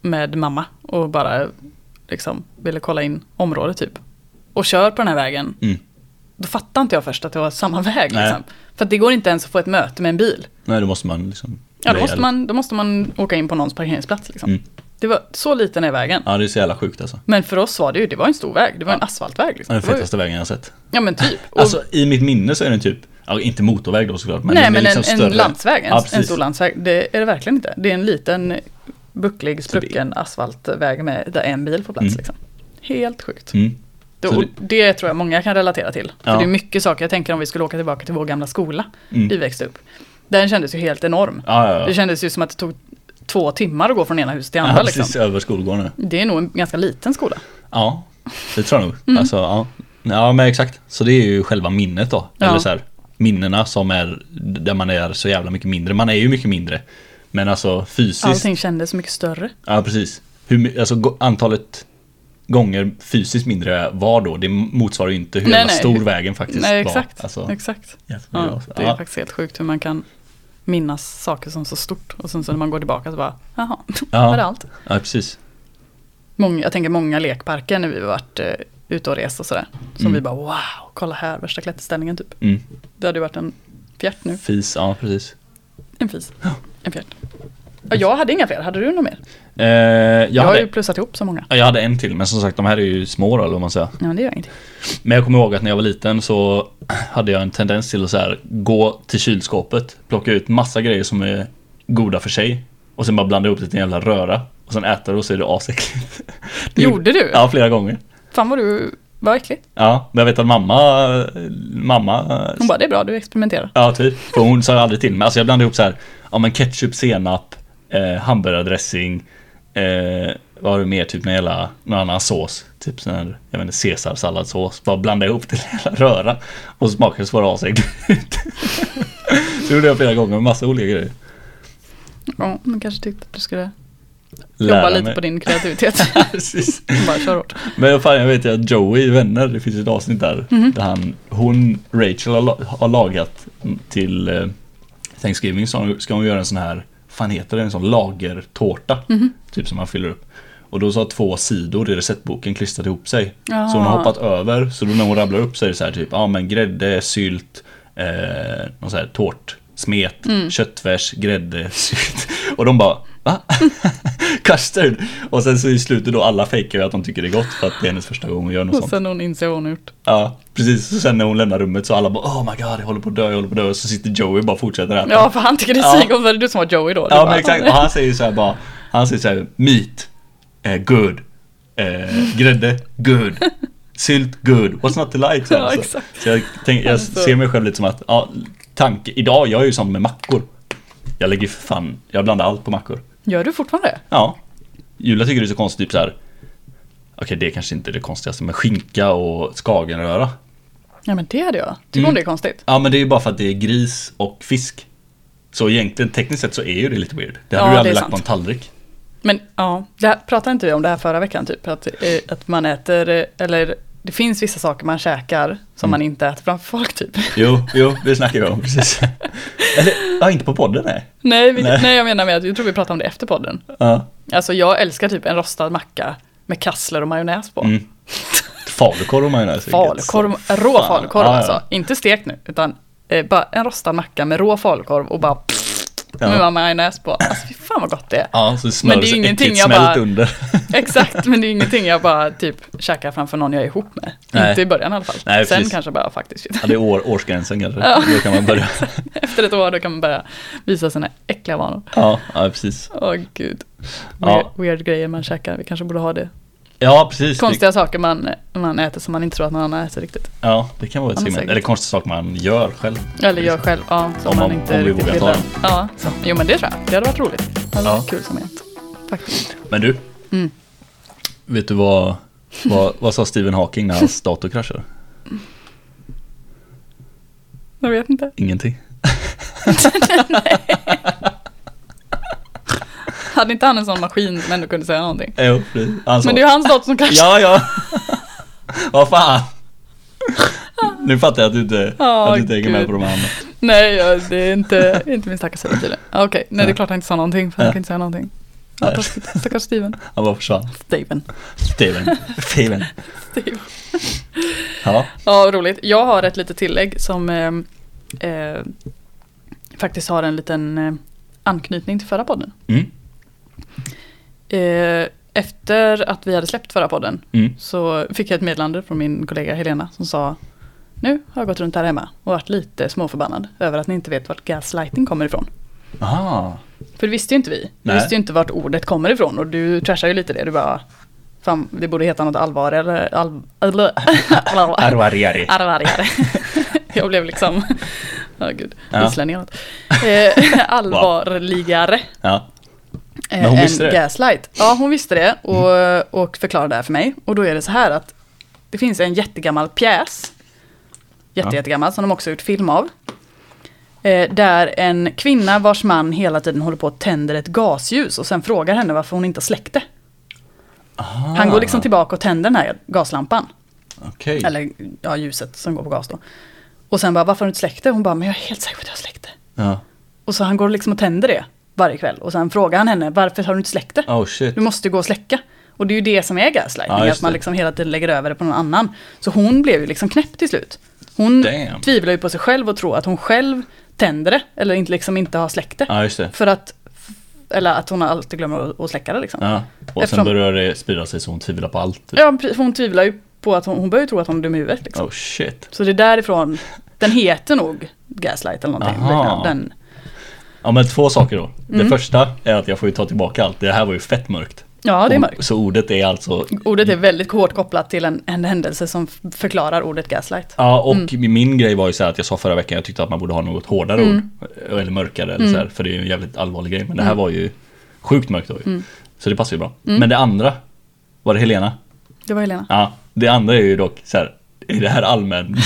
Speaker 2: med mamma och bara liksom ville kolla in området typ. Och kör på den här vägen.
Speaker 1: Mm.
Speaker 2: Då fattade inte jag först att det var samma väg.
Speaker 1: Nej.
Speaker 2: Liksom. För att det går inte ens att få ett möte med en bil.
Speaker 1: Nej, då måste man liksom...
Speaker 2: Ja, då
Speaker 1: rejäl-
Speaker 2: måste man, då måste man åka in på någons parkeringsplats. Liksom.
Speaker 1: Mm.
Speaker 2: Det var så liten är vägen.
Speaker 1: Ja, det är så jävla sjukt alltså.
Speaker 2: Men för oss var det ju, det var en stor väg, det var en asfaltväg.
Speaker 1: Det
Speaker 2: Liksom.
Speaker 1: är den
Speaker 2: Det var ju,
Speaker 1: fetaste vägen jag har sett.
Speaker 2: ja men typ. Och,
Speaker 1: Alltså i mitt minne så är den typ, ja, inte motorväg då såklart, men
Speaker 2: nej
Speaker 1: den är
Speaker 2: men
Speaker 1: liksom
Speaker 2: en,
Speaker 1: större.
Speaker 2: en landsväg, en,
Speaker 1: Ja, precis. Mm.
Speaker 2: en stor landsväg, det är det verkligen inte. Det är en liten bucklig, sprucken asfaltväg med, där en bil får plats.
Speaker 1: Mm.
Speaker 2: Liksom. Helt sjukt.
Speaker 1: Mm.
Speaker 2: Det,
Speaker 1: Så
Speaker 2: och det tror jag många kan relatera till. För
Speaker 1: Ja.
Speaker 2: det är mycket saker, jag tänker om vi skulle åka tillbaka till vår gamla skola,
Speaker 1: Mm.
Speaker 2: vi växte upp. Den kändes ju helt enorm.
Speaker 1: Ja, ja,
Speaker 2: Det
Speaker 1: ja.
Speaker 2: kändes ju som att det tog två timmar att gå från ena huset till andra.
Speaker 1: ja
Speaker 2: liksom.
Speaker 1: precis, över skolgården.
Speaker 2: Det är nog en ganska liten skola.
Speaker 1: Ja, det tror jag nog.
Speaker 2: Mm.
Speaker 1: Alltså, ja. ja, men exakt. Så det är ju själva minnet då.
Speaker 2: Ja.
Speaker 1: Eller så här, minnena som är där man är så jävla mycket mindre. Man är ju mycket mindre. Men alltså fysiskt.
Speaker 2: Allting kändes mycket större.
Speaker 1: Ja, precis. Hur, my- alltså, go- antalet gånger fysiskt mindre jag var då, det motsvarar ju inte hur
Speaker 2: Nej,
Speaker 1: jävla
Speaker 2: nej.
Speaker 1: stor vägen faktiskt
Speaker 2: Nej,
Speaker 1: var.
Speaker 2: exakt.
Speaker 1: Alltså,
Speaker 2: exakt.
Speaker 1: jämfört med
Speaker 2: Ja,
Speaker 1: idag.
Speaker 2: det är
Speaker 1: Ja.
Speaker 2: faktiskt helt sjukt hur man kan minnas saker som så stort och sen så när man går tillbaka så bara, jaha,
Speaker 1: Ja.
Speaker 2: var det allt?
Speaker 1: ja, precis.
Speaker 2: Många, jag tänker många lekparker när vi varit eh, ute och rest och sådär. Som vi bara, wow, kolla här, värsta klätterställningen typ.
Speaker 1: Mm.
Speaker 2: Det hade ju varit en fjärt nu,
Speaker 1: Fis, ja precis.
Speaker 2: en fis, en fjärt. Ja, jag hade inga fler, hade du något mer?
Speaker 1: Eh,
Speaker 2: Jag
Speaker 1: jag,
Speaker 2: har
Speaker 1: hade,
Speaker 2: ju plussat ihop så många.
Speaker 1: ja, jag hade en till, men som sagt de här är ju små då, eller vad man säger.
Speaker 2: Ja, men det gör ingenting.
Speaker 1: Men jag kommer ihåg att när jag var liten så hade jag en tendens till att så här, gå till kylskåpet, plocka ut massa grejer som är goda för sig och sen bara blanda ihop det till en jävla röra och sen äta det och så är det asäckligt. Det gjorde-
Speaker 2: Gjorde du?
Speaker 1: Ja, flera gånger.
Speaker 2: Fan vad du, vad äckligt.
Speaker 1: Ja, men jag vet att mamma, mamma
Speaker 2: Hon bara, det är bra, du experimenterar.
Speaker 1: Ja, typ. För hon sa aldrig till mig. Alltså jag blandade ihop så här, ja men ketchup, senap, eh, hamburgardressing, eh, vad har du mer, typ någon jävla, någon annan sås. Typ sån här, jag vet inte, caesarsalladssås. Bara blandade ihop till en jävla röra. Och smakade så var det asäckligt. Det gjorde jag flera gånger med massa olika grejer.
Speaker 2: Ja, hon kanske tyckte att du skulle
Speaker 1: Lära
Speaker 2: jobba lite
Speaker 1: mig.
Speaker 2: på din kreativitet.
Speaker 1: Precis.
Speaker 2: bara kör hårt.
Speaker 1: Men fan, jag vet ju att Joey i Vänner, det finns ett avsnitt där, där han, hon, Rachel har, la- har lagat till eh, Thanksgiving så hon- ska hon göra en sån här, fan heter det, en sån lagertårta. Typ som man fyller upp. Och då så har två sidor i receptboken klistrat ihop sig. Så hon har
Speaker 2: Ah.
Speaker 1: hoppat över, så då när hon rabblar upp så är det så här typ, ja ah, men grädde, sylt, eh, någon så här tårt. Smet, köttfärs, grädde, sylt. Och de bara va? Custard! Och sen så i slutet då alla fejkar ju att de tycker det är gott för att det är hennes första gång hon gör något
Speaker 2: Och
Speaker 1: sånt.
Speaker 2: sen hon inser vad hon har gjort.
Speaker 1: Ja, precis. Så sen när hon lämnar rummet så alla bara oh my god jag håller på att dö, jag håller på att dö. Och så sitter Joey och bara fortsätter äta.
Speaker 2: Ja, för han tycker det är
Speaker 1: Ja.
Speaker 2: svingott, för det är du som var Joey då. Du
Speaker 1: Ja
Speaker 2: bara,
Speaker 1: men exakt, och han säger så här bara, han säger så här meat, eh, good, eh, grädde, good, sylt, good, what's not to like? Så, här,
Speaker 2: Ja,
Speaker 1: så.
Speaker 2: exakt.
Speaker 1: så jag, tänk, jag
Speaker 2: Alltså.
Speaker 1: ser mig själv lite som att, ja, tanke, idag, jag är ju sån med mackor. Jag lägger ju för fan, jag blandar allt på mackor.
Speaker 2: Gör du fortfarande det?
Speaker 1: Ja, Julia tycker det är så konstigt, typ så här. Okej, det är kanske inte är det konstigaste, men skinka och skagenröra.
Speaker 2: Ja men det hade jag. Tycker
Speaker 1: Mm.
Speaker 2: hon det är konstigt?
Speaker 1: Ja, men det är ju bara för att det är gris och fisk. Så egentligen, tekniskt sett så är ju det lite weird. Det hade
Speaker 2: Ja,
Speaker 1: du
Speaker 2: det
Speaker 1: aldrig
Speaker 2: är
Speaker 1: lagt på en
Speaker 2: sant.
Speaker 1: tallrik.
Speaker 2: Men ja, det här, pratade inte vi om det här förra veckan typ? Att, eh, att man äter, eh, eller det finns vissa saker man käkar
Speaker 1: Mm.
Speaker 2: som man inte äter framför folk typ.
Speaker 1: Jo, jo, det snackar vi om, precis. Eller, ja, inte på podden nej.
Speaker 2: Nej, vi, nej.
Speaker 1: Nej.
Speaker 2: jag menar med att jag tror vi pratade om det efter podden.
Speaker 1: Ja.
Speaker 2: Alltså jag älskar typ en rostad macka med kassler och majonnäs på.
Speaker 1: Mm. Falukorv och majonnäs. vilket
Speaker 2: Falukorv,
Speaker 1: så-
Speaker 2: rå
Speaker 1: Fan.
Speaker 2: falukorv
Speaker 1: Ja, ja.
Speaker 2: alltså. Inte stekt nu, utan eh, bara en rostad macka med rå falukorv och bara
Speaker 1: Ja.
Speaker 2: med majonnäs på. Alltså fy fan vad gott det är.
Speaker 1: Ja, så
Speaker 2: Men det
Speaker 1: smöret
Speaker 2: är
Speaker 1: så
Speaker 2: ingenting
Speaker 1: äckligt
Speaker 2: jag
Speaker 1: smält
Speaker 2: bara-
Speaker 1: under.
Speaker 2: Exakt, men det är ingenting jag bara typ käkar framför någon jag är ihop med.
Speaker 1: Nej.
Speaker 2: Inte i början i alla fall.
Speaker 1: Nej,
Speaker 2: Sen
Speaker 1: precis.
Speaker 2: kanske bara faktiskt. shit.
Speaker 1: Ja, det är år, årsgränsen kanske.
Speaker 2: Ja.
Speaker 1: Då kan man börja.
Speaker 2: Efter ett år då kan man börja visa sina äckliga vanor.
Speaker 1: Ja, ja precis.
Speaker 2: Åh gud.
Speaker 1: Ja.
Speaker 2: Weird, weird grejer man käkar, vi kanske borde ha det.
Speaker 1: Ja, precis. Det,
Speaker 2: Konstiga saker man, man äter som man inte tror att någon annan äter riktigt.
Speaker 1: ja, det kan vara ett
Speaker 2: Ja, men
Speaker 1: segment.
Speaker 2: säkert.
Speaker 1: Eller konstiga saker man gör själv.
Speaker 2: Eller gör själv, ja. Som
Speaker 1: Om
Speaker 2: man
Speaker 1: man-
Speaker 2: inte
Speaker 1: om vi
Speaker 2: riktigt
Speaker 1: vågar
Speaker 2: vill.
Speaker 1: ta den.
Speaker 2: Ja, så. Jo men det tror jag, det hade varit roligt. Det hade
Speaker 1: Ja.
Speaker 2: varit kul som ett. Faktiskt.
Speaker 1: Men du,
Speaker 2: Mm.
Speaker 1: vet du vad, vad, vad sa Stephen Hawking när hans dator kraschade?
Speaker 2: Jag vet inte.
Speaker 1: Ingenting.
Speaker 2: Hade inte han en sån maskin som ändå kunde säga någonting?
Speaker 1: Jo, precis. Han sa,
Speaker 2: Men det är ju hans dator som kraschar.
Speaker 1: Alltså, Ja, ja. vad fan. Nu fattar jag att du inte,
Speaker 2: Ja,
Speaker 1: att du inte hänger
Speaker 2: gud.
Speaker 1: med på de andra.
Speaker 2: Nej, ja, det är inte, inte min stackars sida tydligen. Okej, nej det är klart han inte sa någonting, för han
Speaker 1: Ja.
Speaker 2: kan inte säga någonting.
Speaker 1: Nej.
Speaker 2: Ja, taskigt. Stackars Steven.
Speaker 1: Han bara försvann.
Speaker 2: Steven.
Speaker 1: Steven. Steven.
Speaker 2: Steven.
Speaker 1: Ja.
Speaker 2: Ja, vad roligt. Jag har ett litet tillägg som eh, eh, faktiskt har en liten eh, anknytning till förra podden.
Speaker 1: Mm.
Speaker 2: Eh, efter att vi hade släppt förra podden
Speaker 1: Mm.
Speaker 2: så fick jag ett meddelande från min kollega Helena som sa Nu har jag gått runt här hemma och varit lite småförbannad över att ni inte vet vart gaslighting kommer ifrån.
Speaker 1: Aha.
Speaker 2: För det visste ju inte vi. Vi
Speaker 1: Nej.
Speaker 2: visste ju inte vart ordet kommer ifrån och du trashar ju lite det. Du bara, fan det borde heta något allvar eller... All, all,
Speaker 1: Arvariari.
Speaker 2: Arvargare. Jag blev liksom, ja gud,
Speaker 1: Ja.
Speaker 2: islänning eller något. Eh, Allvarligare
Speaker 1: Ja.
Speaker 2: eh,
Speaker 1: Men hon
Speaker 2: än
Speaker 1: visste det? Mm.
Speaker 2: gaslight. Ja, hon visste det och, och förklarade det här för mig. Och då är det så här att det finns en jättegammal pjäs, jätte,
Speaker 1: Ja.
Speaker 2: jättegammal, som de också gjort film av. Eh, där en kvinna vars man hela tiden håller på att tänder ett gasljus och sen frågar henne varför hon inte har släckt det. Han går liksom tillbaka och tänder den här gaslampan.
Speaker 1: Okej.
Speaker 2: Eller ja, ljuset som går på gas då. Och sen bara, varför har du inte släckt det? Hon bara, men jag är helt säker på att jag har släckt det.
Speaker 1: Ja.
Speaker 2: Och så han går liksom och tänder det varje kväll. Och sen frågar han henne, varför har du inte släckt det?
Speaker 1: Oh shit.
Speaker 2: Du måste ju gå och släcka. Och det är ju det som är gaslighting,
Speaker 1: Ja, just
Speaker 2: att man
Speaker 1: det.
Speaker 2: liksom hela tiden lägger över det på någon annan. Så hon blev ju liksom knäpp till slut. Hon
Speaker 1: Damn.
Speaker 2: tvivlar ju på sig själv och tror att hon själv tänder det, eller inte, liksom inte har släckt det.
Speaker 1: Ja, just det.
Speaker 2: För att, eller att hon alltid glömmer att- att släcka det liksom.
Speaker 1: Ja. Och
Speaker 2: Eftersom-
Speaker 1: sen börjar det sprida sig så hon tvivlar på allt. typ.
Speaker 2: Ja, för hon tvivlar ju på att hon, hon börjar ju tro att hon är dum i huvudet. Liksom.
Speaker 1: Oh shit.
Speaker 2: Så det är därifrån, den heter nog Gaslight eller någonting.
Speaker 1: Aha.
Speaker 2: liknande. Den,
Speaker 1: Ja men två saker då.
Speaker 2: Mm.
Speaker 1: Det första är att jag får ju ta tillbaka allt. Det här var ju fett mörkt.
Speaker 2: ja, det är
Speaker 1: Och-
Speaker 2: mörkt.
Speaker 1: Så ordet är alltså
Speaker 2: Ordet är väldigt hårt kopplat till en, en händelse som f- förklarar ordet gaslight.
Speaker 1: Ja och min grej var ju så här att jag sa förra veckan jag tyckte att man borde ha något hårdare
Speaker 2: Mm.
Speaker 1: ord. Eller mörkare eller så här, för det är ju en jävligt allvarlig grej. Men det här var ju sjukt mörkt då ju.
Speaker 2: Mm.
Speaker 1: Så det passar ju bra. Men det andra, var det Helena?
Speaker 2: Det var Helena.
Speaker 1: Ja, det andra är ju dock så här, är det här allmän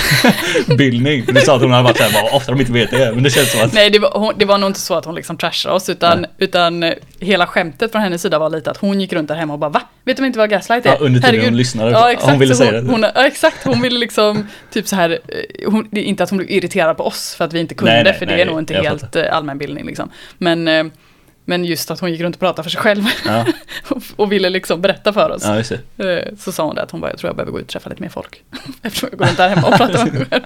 Speaker 1: bildning? För du sa att hon hade varit så här, bara, ofta de inte vet det. Men det känns som att,
Speaker 2: Nej, det var, hon, det var nog inte så att hon liksom trashade oss, utan, utan eh, hela skämtet från hennes sida var lite att hon gick runt där hemma och bara va? Vet de inte vad gaslight är?
Speaker 1: Ja, under tiden
Speaker 2: Herregud."
Speaker 1: hon lyssnade.
Speaker 2: Ja, exakt.
Speaker 1: Hon ville
Speaker 2: Så
Speaker 1: säga det.
Speaker 2: Hon, ja, exakt, hon ville liksom typ så här, eh, hon, det är inte att hon blev irriterad på oss för att vi inte kunde,
Speaker 1: Nej, nej,
Speaker 2: för det
Speaker 1: nej,
Speaker 2: är nog inte
Speaker 1: jag
Speaker 2: helt eh, allmänbildning liksom. Men, eh, men just att hon gick runt och pratade för sig själv
Speaker 1: Ja.
Speaker 2: och, och ville liksom berätta för oss.
Speaker 1: ja just det.
Speaker 2: Eh, Så sa hon det att hon bara, jag tror jag behöver gå ut och träffa lite mer folk. Eftersom jag går runt där hemma och pratar med mig själv.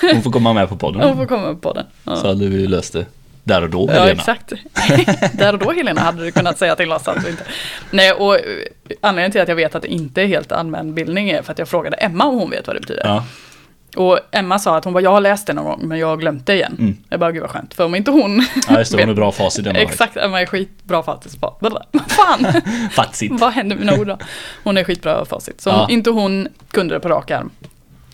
Speaker 1: Hon får komma med på
Speaker 2: Hon
Speaker 1: podden.
Speaker 2: får komma på den. Ja.
Speaker 1: Så hade vi löst det där och då med
Speaker 2: Ja,
Speaker 1: Helena.
Speaker 2: exakt. Där och då Helena hade du kunnat säga till oss att du inte. Nej, och eh, anledningen till att jag vet att det inte är helt allmän bildning är för att jag frågade Emma om hon vet vad det betyder.
Speaker 1: Ja,
Speaker 2: Och Emma sa att hon bara, jag har läst det någon gång men jag har glömt det igen.
Speaker 1: Mm.
Speaker 2: Jag bara, gud vad skönt. För om inte hon
Speaker 1: ja just det, hon är
Speaker 2: vet-
Speaker 1: bra facit Emma.
Speaker 2: Exakt, Emma är skitbra faktiskt. Vad fan,
Speaker 1: Facit.
Speaker 2: vad hände med mina ord då? Hon är skitbra facit. Så om
Speaker 1: Ja.
Speaker 2: inte hon kunde det på rak arm,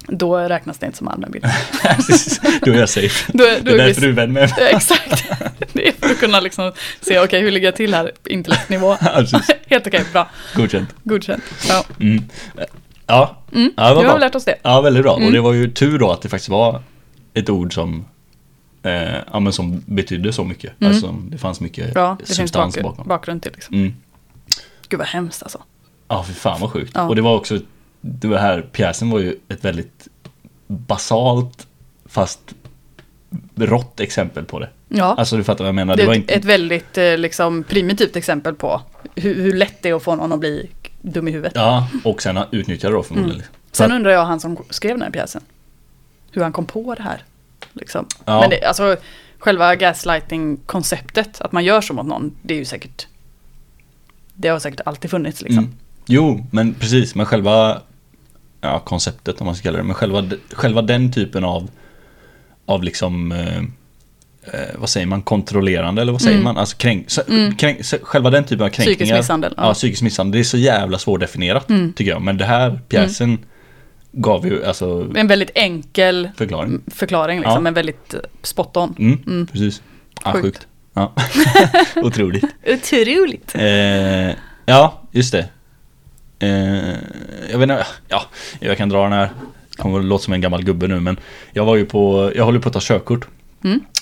Speaker 2: då räknas det inte som allmän bildning.
Speaker 1: Precis. Då är jag safe.
Speaker 2: Då är- då
Speaker 1: det är
Speaker 2: är vi-
Speaker 1: därför du är vän med mig.
Speaker 2: Ja, Exakt. Det är för att kunna liksom se, okej hur ligger jag till här, intellektnivå?
Speaker 1: Ja, precis.
Speaker 2: Helt okej, bra.
Speaker 1: Godkänt.
Speaker 2: Godkänt. Ja,
Speaker 1: Mm. Ja. ja, det
Speaker 2: Mm. nu
Speaker 1: var
Speaker 2: har
Speaker 1: bra.
Speaker 2: vi lärt oss det. Mm.
Speaker 1: Ja, väldigt bra. Och det var ju tur då att det faktiskt var ett ord som, eh, ja, men som betydde så mycket. Alltså, det fanns mycket
Speaker 2: Mm. Bra, det finns
Speaker 1: substans
Speaker 2: bakgrund,
Speaker 1: bakom.
Speaker 2: bakgrund till liksom.
Speaker 1: Mm.
Speaker 2: Gud vad hemskt alltså.
Speaker 1: Ja, fy fan vad sjukt.
Speaker 2: Ja.
Speaker 1: Och det var också det här pjäsen var ju ett väldigt basalt fast rått exempel på det.
Speaker 2: Ja.
Speaker 1: Alltså du fattar vad jag menar.
Speaker 2: det
Speaker 1: Det
Speaker 2: är
Speaker 1: var
Speaker 2: ett,
Speaker 1: inte,
Speaker 2: ett väldigt eh, liksom, primitivt exempel på hur, hur lätt det är att få någon att bli dum i huvudet.
Speaker 1: ja, och sen utnyttjade det då förmodligen. Så
Speaker 2: Mm. Sen
Speaker 1: att-
Speaker 2: undrar jag han som skrev den här pjäsen. Hur han kom på det här. Liksom.
Speaker 1: Ja.
Speaker 2: Men det, alltså, själva gaslighting-konceptet, att man gör så mot någon, det är ju säkert... Det har säkert alltid funnits liksom.
Speaker 1: Mm. Jo, men precis, men själva ja, konceptet om man ska kalla det, men själva, själva den typen av, av liksom eh, eh, vad säger man, kontrollerande eller vad säger man? Alltså kränk, så- kränk, så- själva den typen av kränkningar.
Speaker 2: Mm. Psykisk misshandel,
Speaker 1: Ja.
Speaker 2: ja. Mm.
Speaker 1: psykisk misshandel. Det är så jävla svårdefinierat tycker jag. Men det här pjäsen gav ju alltså
Speaker 2: En väldigt enkel
Speaker 1: förklaring.
Speaker 2: förklaring liksom,
Speaker 1: Ja.
Speaker 2: men väldigt eh, spot on.
Speaker 1: Mm, Precis. Ja,
Speaker 2: Sjukt.
Speaker 1: sjukt. Ja. Otroligt.
Speaker 2: Otroligt!
Speaker 1: Eh, ja, just det. Eh, jag vet inte, ja, jag kan dra den här. Kommer att låta som en gammal gubbe nu men jag var ju på, jag håller på att ta körkort.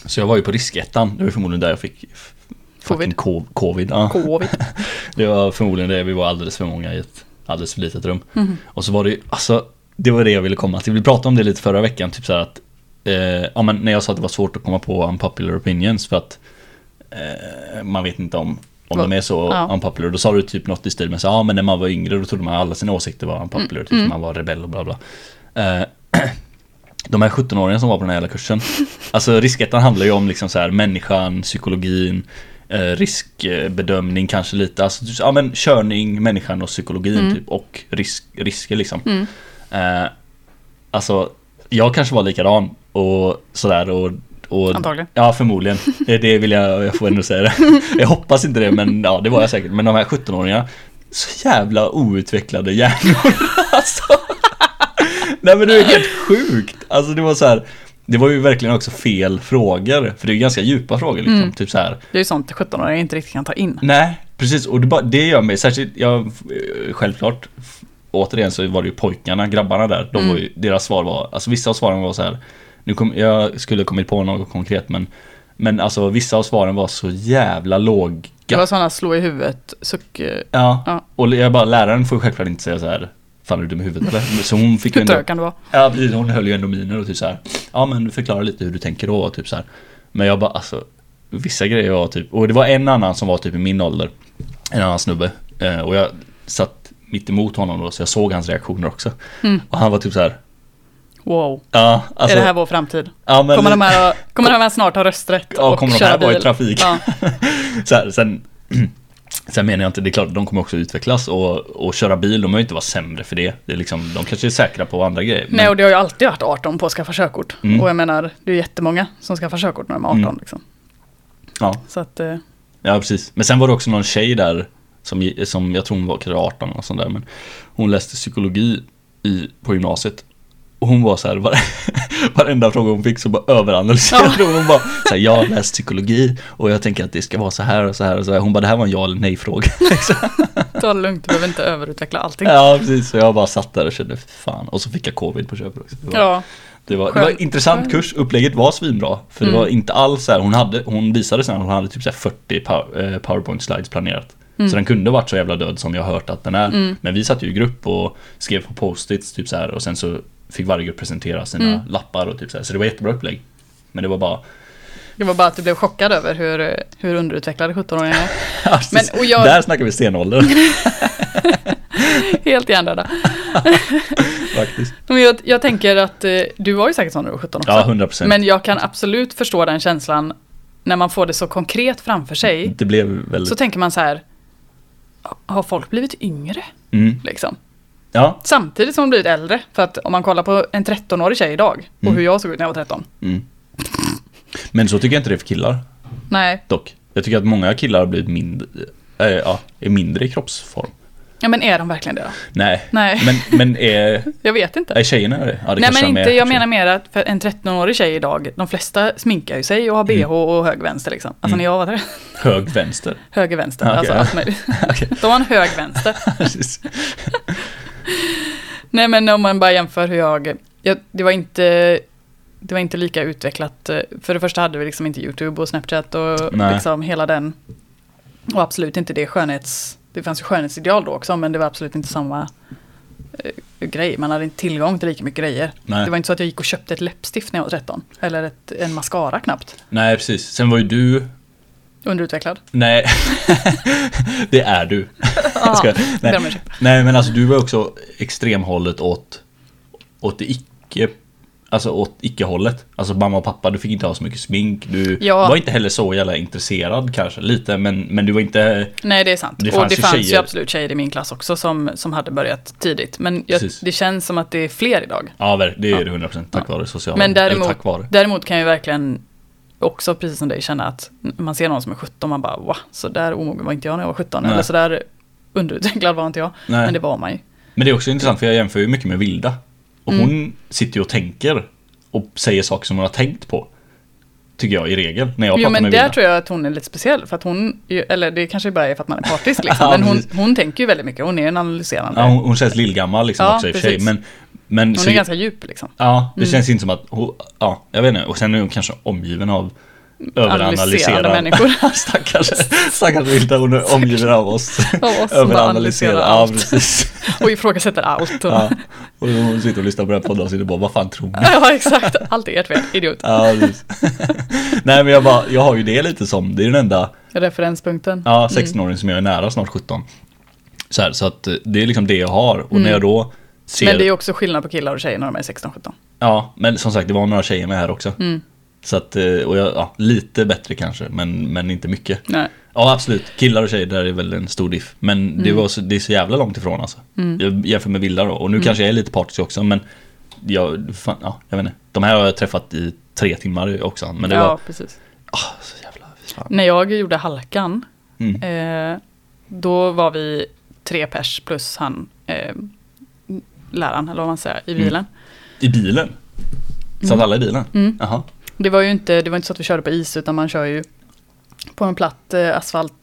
Speaker 1: Så jag var ju på riskettan, det var förmodligen där jag fick f- fucking co-
Speaker 2: Covid.
Speaker 1: covid. Ja.
Speaker 2: Covid.
Speaker 1: Det var förmodligen det, vi var alldeles för många i ett alldeles för litet rum. Och så var det ju, alltså det var det jag ville komma till. Vi pratade om det lite förra veckan, typ så här att eh, Ja men när jag sa att det var svårt att komma på unpopular opinions för att eh, man vet inte om, om de är så
Speaker 2: Ja.
Speaker 1: unpopular. Då sa du typ något i stil med så ja men när man var yngre då trodde man alla sina åsikter var unpopular, typ man var rebell och bla bla. Eh, de här 17-åringarna som var på den här jävla kursen. Alltså riskettan handlar ju om liksom så här människan, psykologin, eh, riskbedömning kanske lite. Alltså ja, men körning, människan och psykologin typ och risk, risker liksom. Eh, alltså jag kanske var likadan och sådär och, och
Speaker 2: Antagligen.
Speaker 1: Ja förmodligen. Det, det vill jag, jag får ändå säga det. Jag hoppas inte det men ja det var jag säkert. Men de här 17-åringarna så jävla outvecklade hjärnor alltså. Nej men det är helt sjukt. Alltså det var så här. Det var ju verkligen också fel frågor. För det är ju ganska djupa frågor liksom. Typ så här.
Speaker 2: Det är ju sånt 17-åringar inte riktigt kan ta in.
Speaker 1: Nej, precis. Och det, bara, det gör mig särskilt, jag, självklart. Återigen så var det ju pojkarna, grabbarna där. De var ju, deras svar var, alltså vissa av svaren var så här. Nu kom, jag skulle kommit på något konkret men, men alltså vissa av svaren var så jävla låga.
Speaker 2: Det var sådana slå i huvudet, suck... eh,
Speaker 1: Ja.
Speaker 2: Ja.
Speaker 1: och jag bara, läraren får ju självklart inte säga så här. Fan är du dum i huvudet eller? Så hon fick ju
Speaker 2: Hur
Speaker 1: ändå
Speaker 2: trög kan det vara?
Speaker 1: Ja precis, hon höll ju ändå miner och typ så här. Ja men förklara lite hur du tänker då och typ så här. Men jag bara alltså Vissa grejer var typ, och det var en annan som var typ i min ålder En annan snubbe Eh, och jag satt mitt emot honom då så jag såg hans reaktioner också Och han var typ så här.
Speaker 2: Wow.
Speaker 1: Ja alltså
Speaker 2: Mm. är det här vår framtid?
Speaker 1: ja, men,
Speaker 2: Kommer de här, kommer de här snart ha rösträtt
Speaker 1: Ja, kommer de
Speaker 2: och köra
Speaker 1: här
Speaker 2: bil?
Speaker 1: vara i trafik?
Speaker 2: Ja.
Speaker 1: så här, sen, sen menar jag inte, det är klart de kommer också utvecklas och, och köra bil, de behöver inte vara sämre för det, det är liksom, De kanske är säkra på andra grejer men-
Speaker 2: Nej, och det har ju alltid varit 18 på att skaffa körkort.
Speaker 1: Mm.
Speaker 2: Och jag menar, det är ju jättemånga som skaffar körkort när de är 18. Liksom.
Speaker 1: ja.
Speaker 2: Så att, eh,
Speaker 1: Ja precis, men sen var det också någon tjej där Som, som jag tror hon var kanske 18 eller något sånt där men Hon läste psykologi i, på gymnasiet Och hon var så här, var, varenda fråga hon fick så bara överanalyserade hon. hon bara så här, Jag har läst psykologi och jag tänker att det ska vara så här och så här och så här Hon bara det här var en ja eller nej fråga
Speaker 2: ta det lugnt, du behöver inte överutveckla allting. Ja,
Speaker 1: Ja precis, så jag bara satt där och kände fan Och så fick jag covid på köpet också Det var- det var, det var en intressant kurs, upplägget var svinbra. För det
Speaker 2: Mm.
Speaker 1: var inte alls så här, hon, hade, hon visade sen att hon hade typ så här 40 pow- eh, powerpoint slides planerat.
Speaker 2: Mm.
Speaker 1: Så den kunde varit så jävla död som jag har hört att den är. Men vi satt ju i grupp och skrev på post-its typ så här, och sen så fick varje grupp presentera sina
Speaker 2: Mm.
Speaker 1: lappar och typ så här. Så det var jättebra upplägg. Men det var bara...
Speaker 2: det var bara att du blev chockad över hur, eh, hur underutvecklade 17-åringar är. Men- och jag-
Speaker 1: alltså, Där snackar vi stenålder
Speaker 2: Helt hjärndöda.
Speaker 1: faktiskt.
Speaker 2: Men jag, jag tänker att eh, du var ju säkert sån när du var 17 också.
Speaker 1: Ja, 100%.
Speaker 2: Men jag kan absolut förstå den känslan när man får det så konkret framför sig.
Speaker 1: Det blev Mm, väldigt...
Speaker 2: Så tänker man så här, har folk blivit yngre?
Speaker 1: Mm.
Speaker 2: Liksom.
Speaker 1: Ja.
Speaker 2: Samtidigt som de blivit äldre. För att om man kollar på en 13-årig tjej idag och hur jag såg ut när jag var 13.
Speaker 1: Mm. Men så tycker jag inte det är för killar.
Speaker 2: Nej,
Speaker 1: Dock. Jag tycker att många killar har blivit mindre, äh, ja, är mindre i kroppsform.
Speaker 2: ja, men är de verkligen det då?
Speaker 1: Nej.
Speaker 2: Nej.
Speaker 1: Men, men är,
Speaker 2: Jag vet inte.
Speaker 1: är tjejerna det? Ja, det
Speaker 2: Nej
Speaker 1: kanske
Speaker 2: men
Speaker 1: de är,
Speaker 2: inte, jag
Speaker 1: kanske.
Speaker 2: menar mer att för en 13-årig tjej idag, de flesta sminkar ju sig och
Speaker 1: Mm.
Speaker 2: har bh och hög vänster liksom. Alltså när jag var där,
Speaker 1: Hög vänster.
Speaker 2: höger vänster,
Speaker 1: Mm. Ah, Okej.
Speaker 2: alltså allt möjligt.
Speaker 1: Okej.
Speaker 2: De har en hög vänster.
Speaker 1: Precis.
Speaker 2: Nej men om man bara jämför hur jag, jag det var inte det var inte lika utvecklat. eh, För det första hade vi liksom inte YouTube och Snapchat och
Speaker 1: Nej.
Speaker 2: liksom hela den. Och absolut inte det skönhets... Det fanns ju skönhetsideal då också, men det var absolut inte samma eh, grej. Man hade inte tillgång till lika mycket grejer.
Speaker 1: Nej.
Speaker 2: Det var inte så att jag gick och köpte ett läppstift när jag var 13. Eller ett, en mascara knappt.
Speaker 1: Nej, precis. Sen var ju du...
Speaker 2: Underutvecklad.
Speaker 1: Nej, det är du. Jag skojar.
Speaker 2: det
Speaker 1: Nej.
Speaker 2: är de jag köper.
Speaker 1: Nej, men alltså du var ju också extremhållet åt, åt det icke... Alltså åt icke-hållet. Alltså mamma och pappa, du fick inte ha så mycket smink. Du
Speaker 2: Ja.
Speaker 1: var inte heller så jävla intresserad kanske, lite. Men, men du var inte...
Speaker 2: Nej, det är sant.
Speaker 1: Det
Speaker 2: och
Speaker 1: fanns
Speaker 2: det
Speaker 1: ju
Speaker 2: fanns ju
Speaker 1: tjejer.
Speaker 2: absolut tjejer i min klass också som, som hade börjat tidigt. Men jag,
Speaker 1: Precis.
Speaker 2: det känns som att det är fler idag.
Speaker 1: Ja, ver- det är det 100% tack vare sociala...
Speaker 2: Men däremot,
Speaker 1: Eller tack vare.
Speaker 2: däremot kan jag verkligen också, precis som dig, känna att när man ser någon som är 17, man bara va, så där omogen var inte jag när jag var 17.
Speaker 1: Nej.
Speaker 2: Eller så där underutvecklad var inte jag.
Speaker 1: Nej.
Speaker 2: Men det var man ju.
Speaker 1: Men det är också intressant för jag jämför ju mycket med Vilda. Och
Speaker 2: Mm.
Speaker 1: hon sitter ju och tänker och säger saker som hon har tänkt på. Tycker jag i regel när jag
Speaker 2: Jo
Speaker 1: pratar
Speaker 2: men
Speaker 1: med
Speaker 2: där
Speaker 1: Vilda.
Speaker 2: tror jag att hon är lite speciell för att hon, ju- eller det kanske bara är för att man är partisk liksom,
Speaker 1: Ja,
Speaker 2: men hon,
Speaker 1: precis.
Speaker 2: hon tänker ju väldigt mycket, hon är en analyserande.
Speaker 1: Ja, hon, hon känns lillgammal liksom
Speaker 2: Ja,
Speaker 1: också i och för sig.
Speaker 2: precis.
Speaker 1: Men, men
Speaker 2: hon
Speaker 1: så-
Speaker 2: är ganska djup liksom.
Speaker 1: Ja, det känns inte som att hon, ja, jag vet inte. Och sen är hon kanske omgiven av
Speaker 2: Analyserande
Speaker 1: överanalyserade
Speaker 2: människor.
Speaker 1: Stackars, stackars Vilda, hon är omgiven av oss.
Speaker 2: Av oss som
Speaker 1: Överanalyserade,
Speaker 2: bara analyserar
Speaker 1: ja
Speaker 2: allt.
Speaker 1: precis.
Speaker 2: Och ifrågasätter allt. Och,
Speaker 1: Ja.
Speaker 2: ja.
Speaker 1: Och hon sitter och lyssnar på den här podden och sitter bara, vad fan tror ni?
Speaker 2: exakt, allt är ert fel, idiot.
Speaker 1: Ja, precis. Nej men jag, bara, jag har ju det lite som, det är den enda
Speaker 2: Referenspunkten.
Speaker 1: Ja, 16-åring
Speaker 2: Mm.
Speaker 1: som jag är nära, snart 17. Så, här, så att eh, det är liksom det jag har. Och när jag då ser...
Speaker 2: Mm. Men det är ju också skillnad på killar och tjejer när de är 16-17.
Speaker 1: Ja, men som sagt det var några tjejer med här också.
Speaker 2: Mm.
Speaker 1: Så att, eh, och jag, ja, lite bättre kanske, men, men inte mycket.
Speaker 2: Nej.
Speaker 1: Ja, absolut. Killar och tjejer, där är väl en stor diff. Men
Speaker 2: Mm.
Speaker 1: det, var så, det är så jävla långt ifrån alltså. Jag jämför med Villa då. Och
Speaker 2: Mm.
Speaker 1: nu kanske jag är lite partisk också, men jag, fan, ja, jag vet inte. De här har jag träffat i tre timmar också. Men det
Speaker 2: ja,
Speaker 1: var,
Speaker 2: precis.
Speaker 1: ah, så jävla, fy fan.
Speaker 2: När jag gjorde Halkan,
Speaker 1: Mm.
Speaker 2: eh, då var vi tre pers plus han, eh, läraren, eller vad man säger,
Speaker 1: Mm.
Speaker 2: i bilen.
Speaker 1: I bilen?
Speaker 2: Mm.
Speaker 1: Satt alla i bilen? Jaha.
Speaker 2: Det var ju inte, det var inte så att vi körde på is, utan man kör ju på en platt eh,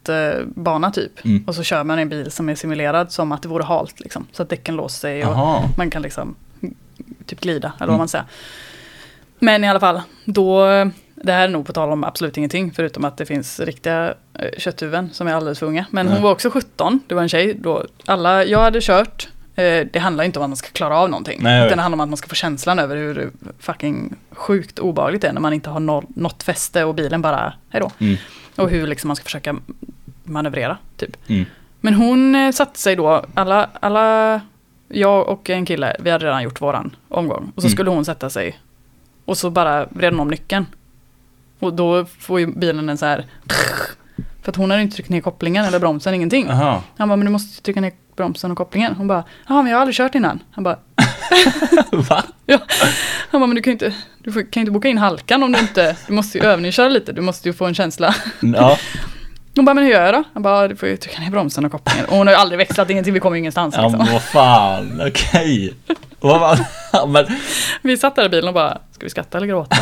Speaker 2: asfaltbana typ.
Speaker 1: Mm.
Speaker 2: Och så kör man en bil som är simulerad som att det vore halt, liksom, så att däcken låser sig. Och,
Speaker 1: Jaha.
Speaker 2: Man kan liksom mm, typ glida,
Speaker 1: Mm.
Speaker 2: eller vad man säger. Men i alla fall, då, det här är nog på tal om absolut ingenting, förutom att det finns riktiga eh, kötthuvuden som är alldeles för unga. Men
Speaker 1: Nej.
Speaker 2: hon var också 17, det var en tjej då. Alla, jag hade kört, eh, det handlar ju inte om att man ska klara av någonting.
Speaker 1: Nej, jag vet.
Speaker 2: utan det handlar om att man ska få känslan över hur fucking sjukt obehagligt det är när man inte har noll, något fäste och bilen bara, hejdå.
Speaker 1: Mm.
Speaker 2: Och hur liksom man ska försöka manövrera, typ.
Speaker 1: Mm.
Speaker 2: Men hon eh, satte sig då, alla, alla, jag och en kille, vi hade redan gjort våran omgång. Och så
Speaker 1: Mm.
Speaker 2: skulle hon sätta sig. Och så bara vred hon om nyckeln. Och då får ju bilen en så här... För att hon hade inte tryckt ner kopplingen eller bromsen, ingenting.
Speaker 1: Aha.
Speaker 2: Han bara, men du måste trycka ner bromsen och kopplingen. Hon bara, ja men jag har aldrig kört innan. Han bara,
Speaker 1: Va?
Speaker 2: ja. Han bara, men du kan ju inte, du får- kan ju inte boka in halkan om du inte, du måste ju övningsköra lite, du måste ju få en känsla.
Speaker 1: Ja.
Speaker 2: Hon bara, men hur gör jag då? Han bara, du får ju trycka ner bromsen och kopplingen. Och hon har ju aldrig växlat ingenting, vi kommer ju ingenstans.
Speaker 1: ja
Speaker 2: Liksom.
Speaker 1: men vad fan, okej. Vad var- ja, men
Speaker 2: Vi satt där i bilen och bara, ska vi skratta eller gråta?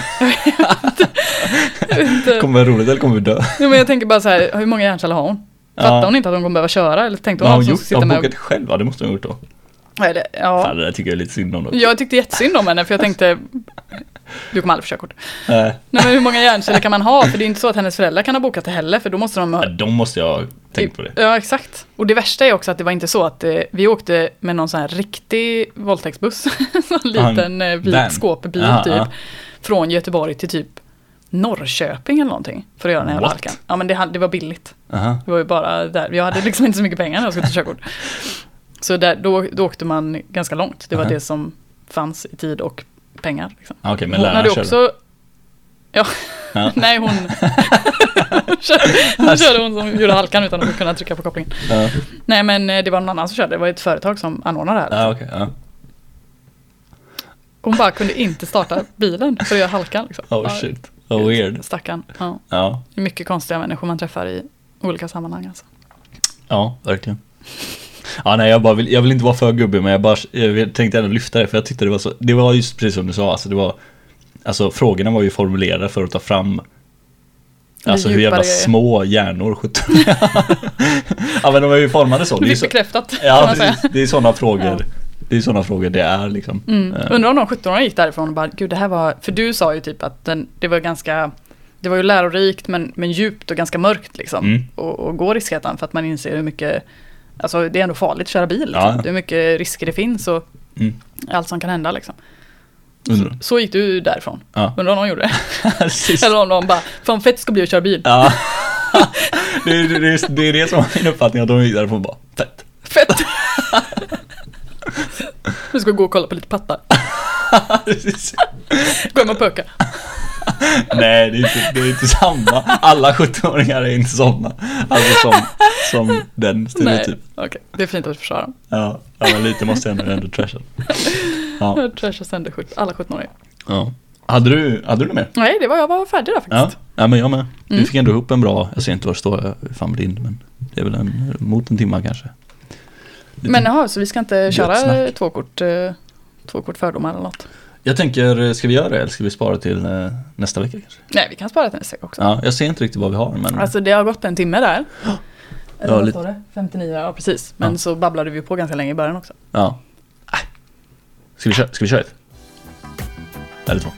Speaker 1: Kommer det vara roligt eller kommer vi dö?
Speaker 2: Jo, men jag tänker bara så här, hur många hjärnceller har hon? Fattar
Speaker 1: Ja.
Speaker 2: hon inte att hon kommer behöva köra? Eller tänkte
Speaker 1: Vad
Speaker 2: hon
Speaker 1: har hon
Speaker 2: att hon
Speaker 1: gjort?
Speaker 2: skulle
Speaker 1: Har
Speaker 2: sitta
Speaker 1: hon
Speaker 2: alltså med
Speaker 1: bokat
Speaker 2: och...
Speaker 1: själv? Ja, det måste hon ha gjort då.
Speaker 2: Nej, det,
Speaker 1: Fan,
Speaker 2: ja.
Speaker 1: det där tycker jag är lite synd om dock.
Speaker 2: Jag tyckte jättesynd om henne, för jag tänkte, du kommer aldrig få körkort.
Speaker 1: Eh,
Speaker 2: Nej, men hur många hjärnceller kan man ha? För det är inte så att hennes föräldrar kan ha bokat det heller, för då måste de ha...
Speaker 1: De måste jag ha
Speaker 2: Typ.
Speaker 1: tänkt på det.
Speaker 2: Ja, exakt. Och det värsta är också att det var inte så att eh, vi åkte med någon sån här riktig våldtäktsbuss, en
Speaker 1: Ja, en
Speaker 2: liten eh,
Speaker 1: van.
Speaker 2: vit skåpbil
Speaker 1: Ja,
Speaker 2: typ,
Speaker 1: ja.
Speaker 2: från Göteborg till typ Norrköping eller någonting för att göra den här jävla
Speaker 1: What?
Speaker 2: halkan. Ja, men det, hann- det var billigt.
Speaker 1: Aha.
Speaker 2: Det var ju bara där. Jag hade liksom inte så mycket pengar när jag skulle ta körkort. Så där, då, då åkte man ganska långt. Det var
Speaker 1: Aha.
Speaker 2: det som fanns i tid och pengar. Liksom.
Speaker 1: Ja, Ah, Okej, men
Speaker 2: Hon hade
Speaker 1: läraren körde.
Speaker 2: också... Ja,
Speaker 1: Ja.
Speaker 2: nej hon... hon, körde, hon körde hon som gjorde halkan utan att kunna trycka på kopplingen.
Speaker 1: Ja,
Speaker 2: Nej men eh, det var någon annan som körde, det var ett företag som anordnade det här.
Speaker 1: ja, Ah, okej. ja.
Speaker 2: Hon bara kunde inte starta bilen för att göra halkan. Liksom.
Speaker 1: Oh shit. Oh weird.
Speaker 2: Stackarn. Ja.
Speaker 1: Ja,
Speaker 2: Det är mycket konstiga människor man träffar i olika sammanhang alltså.
Speaker 1: ja, verkligen. Ja, nej, jag, bara vill, jag vill inte vara för gubbig men jag, bara, jag tänkte ändå lyfta det för jag tyckte det var så, det var just precis som du sa, alltså det var, alltså frågorna var ju formulerade för att ta fram Alltså hur jävla
Speaker 2: Djupare grejer.
Speaker 1: små hjärnor 17 Ja men de är ju formade så. Det är,
Speaker 2: Det är
Speaker 1: så,
Speaker 2: bekräftat. kan
Speaker 1: ja,
Speaker 2: man säga.
Speaker 1: precis, det är sådana frågor.
Speaker 2: Ja.
Speaker 1: Det är sådana frågor det är liksom.
Speaker 2: Mm. Undrar om någon 17-åring gick därifrån och bara, gud det här var, för du sa ju typ att den, det var ganska, det var ju lärorikt men, men djupt och ganska mörkt liksom.
Speaker 1: Mm.
Speaker 2: Och, och gå riskheten för att man inser hur mycket Alltså det är ändå farligt att köra bil. Liksom.
Speaker 1: Ja, ja.
Speaker 2: Det är mycket risker det finns och
Speaker 1: Mm.
Speaker 2: allt som kan hända liksom.
Speaker 1: Undrar.
Speaker 2: Så gick du därifrån.
Speaker 1: Ja.
Speaker 2: Undrar om någon gjorde det.
Speaker 1: Precis.
Speaker 2: Eller om de bara, fan fett ska bli att köra bil.
Speaker 1: Ja. Det, är- det, är- det är det som är min uppfattning, att de gick därifrån och bara fett.
Speaker 2: Fett! Nu ska vi gå och kolla på lite pattar.
Speaker 1: Precis.
Speaker 2: Gå hem och pöka.
Speaker 1: Nej, det är, inte, det är inte samma. Alla 17-åringar är inte sådana. Alltså som, som den
Speaker 2: Nej,
Speaker 1: stereotypen.
Speaker 2: okej. Det är fint att försvara dem.
Speaker 1: Ja, ja, men lite måste jag ändå, ändå trasha. Ja.
Speaker 2: Jag trashar sönder skjut- alla 17-åringar.
Speaker 1: Ja. Hade du, hade du något mer?
Speaker 2: Nej, det var jag var färdig där
Speaker 1: Ja,
Speaker 2: faktiskt.
Speaker 1: ja men jag med.
Speaker 2: Mm.
Speaker 1: Vi fick ändå ihop en bra, jag ser inte var det står, jag är fan blind, men det är väl en, mot en timma kanske. Lite-
Speaker 2: Men jaha, så vi ska inte köra
Speaker 1: snack.
Speaker 2: två kort, eh, två kort fördomar eller något?
Speaker 1: Jag tänker, ska vi göra det eller ska vi spara till eh, nästa vecka kanske?
Speaker 2: Nej, vi kan spara till nästa gång också.
Speaker 1: Ja, jag ser inte riktigt vad vi har, men
Speaker 2: Alltså det har gått en timme där. Eller vad
Speaker 1: lite-
Speaker 2: står det? 59, ja precis. Men
Speaker 1: Ja.
Speaker 2: så babblade vi på ganska länge i början också.
Speaker 1: ja. Äh. Ska vi, köra, ska vi köra ett? Eller två?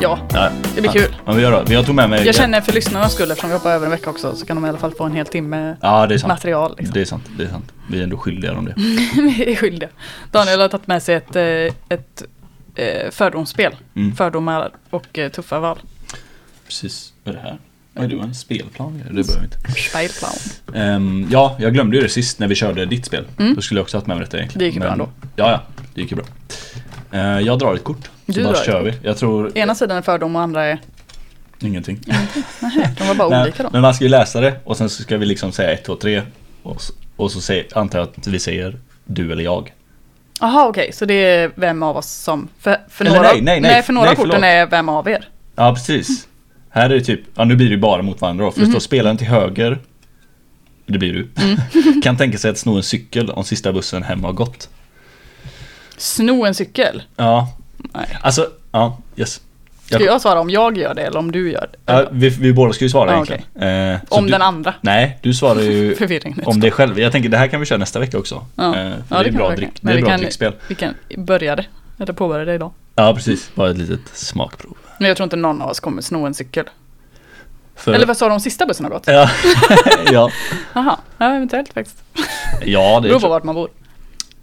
Speaker 2: Ja,
Speaker 1: Ja,
Speaker 2: det blir
Speaker 1: ja.
Speaker 2: kul.
Speaker 1: Men vi gör det. Jag tog med mig...
Speaker 2: Jag känner för lyssnarnas skull, eftersom vi hoppar över en vecka också, så kan de i alla fall få en hel timme
Speaker 1: Ja, det är sant.
Speaker 2: material. Liksom. Mm.
Speaker 1: Det är sant, det är sant. Vi är ändå skyldiga om det.
Speaker 2: Vi är skyldiga. Daniel har tagit med sig ett, eh, ett eh, fördomsspel.
Speaker 1: Mm.
Speaker 2: Fördomar och eh, tuffa val.
Speaker 1: Precis. Vad är det här? Vad är du? En spelplan? Det behöver vi inte.
Speaker 2: Speilplan.
Speaker 1: Ehm, ja, jag glömde ju det sist när vi körde ditt spel. Då skulle jag också haft med mig detta egentligen.
Speaker 2: Mm. Det gick ju bra
Speaker 1: Men-
Speaker 2: ändå.
Speaker 1: Ja, ja. Det gick ju bra. Ehm, jag drar ett kort.
Speaker 2: Du
Speaker 1: så bara
Speaker 2: drar ett
Speaker 1: kör vi. Jag tror
Speaker 2: Ena sidan är fördom och andra är...
Speaker 1: ingenting.
Speaker 2: Nej, de var bara
Speaker 1: Men,
Speaker 2: olika då.
Speaker 1: men man ska ju läsa det och sen så ska vi liksom säga ett, två, tre. Och så, och så säger, antar jag att vi säger du eller jag.
Speaker 2: Jaha, okej, så det är vem av oss som... För, för
Speaker 1: Eller
Speaker 2: några,
Speaker 1: nej, nej, nej.
Speaker 2: för några
Speaker 1: Nej,
Speaker 2: korten
Speaker 1: förlåt.
Speaker 2: är vem av er.
Speaker 1: Ja, precis. Här är det typ, ja nu blir det ju bara mot varandra då, för det
Speaker 2: Mhm.
Speaker 1: står spelaren till höger, det blir du,
Speaker 2: Mm.
Speaker 1: kan tänka sig att sno en cykel om sista bussen hem har gått.
Speaker 2: Sno en cykel.
Speaker 1: Ja,
Speaker 2: Nej.
Speaker 1: alltså, ja, yes. Jag-
Speaker 2: Ska jag svara om jag gör det eller om du gör det?
Speaker 1: Ja, vi, vi båda ska ju svara
Speaker 2: Ja,
Speaker 1: egentligen. Eh, så
Speaker 2: Ah, om
Speaker 1: du,
Speaker 2: den andra.
Speaker 1: Nej, du svarar ju
Speaker 2: Förvirring.
Speaker 1: om dig själv. Jag tänker det här kan vi köra nästa vecka också.
Speaker 2: Ja.
Speaker 1: Eh, för
Speaker 2: Ja,
Speaker 1: det är
Speaker 2: kan
Speaker 1: bra,
Speaker 2: vi
Speaker 1: drick,
Speaker 2: verkligen.
Speaker 1: det är
Speaker 2: Men
Speaker 1: bra
Speaker 2: vi kan-
Speaker 1: drickspel.
Speaker 2: Vi kan börja det, eller påbörja det idag.
Speaker 1: Ja, precis. Bara ett litet smakprov.
Speaker 2: Men jag tror inte någon av oss kommer sno en cykel.
Speaker 1: För,
Speaker 2: Eller vad sa de sista bussen har gått?
Speaker 1: ja, ja,
Speaker 2: Jaha, ja, eventuellt faktiskt.
Speaker 1: ja, det
Speaker 2: Beror på
Speaker 1: är,
Speaker 2: vart man bor.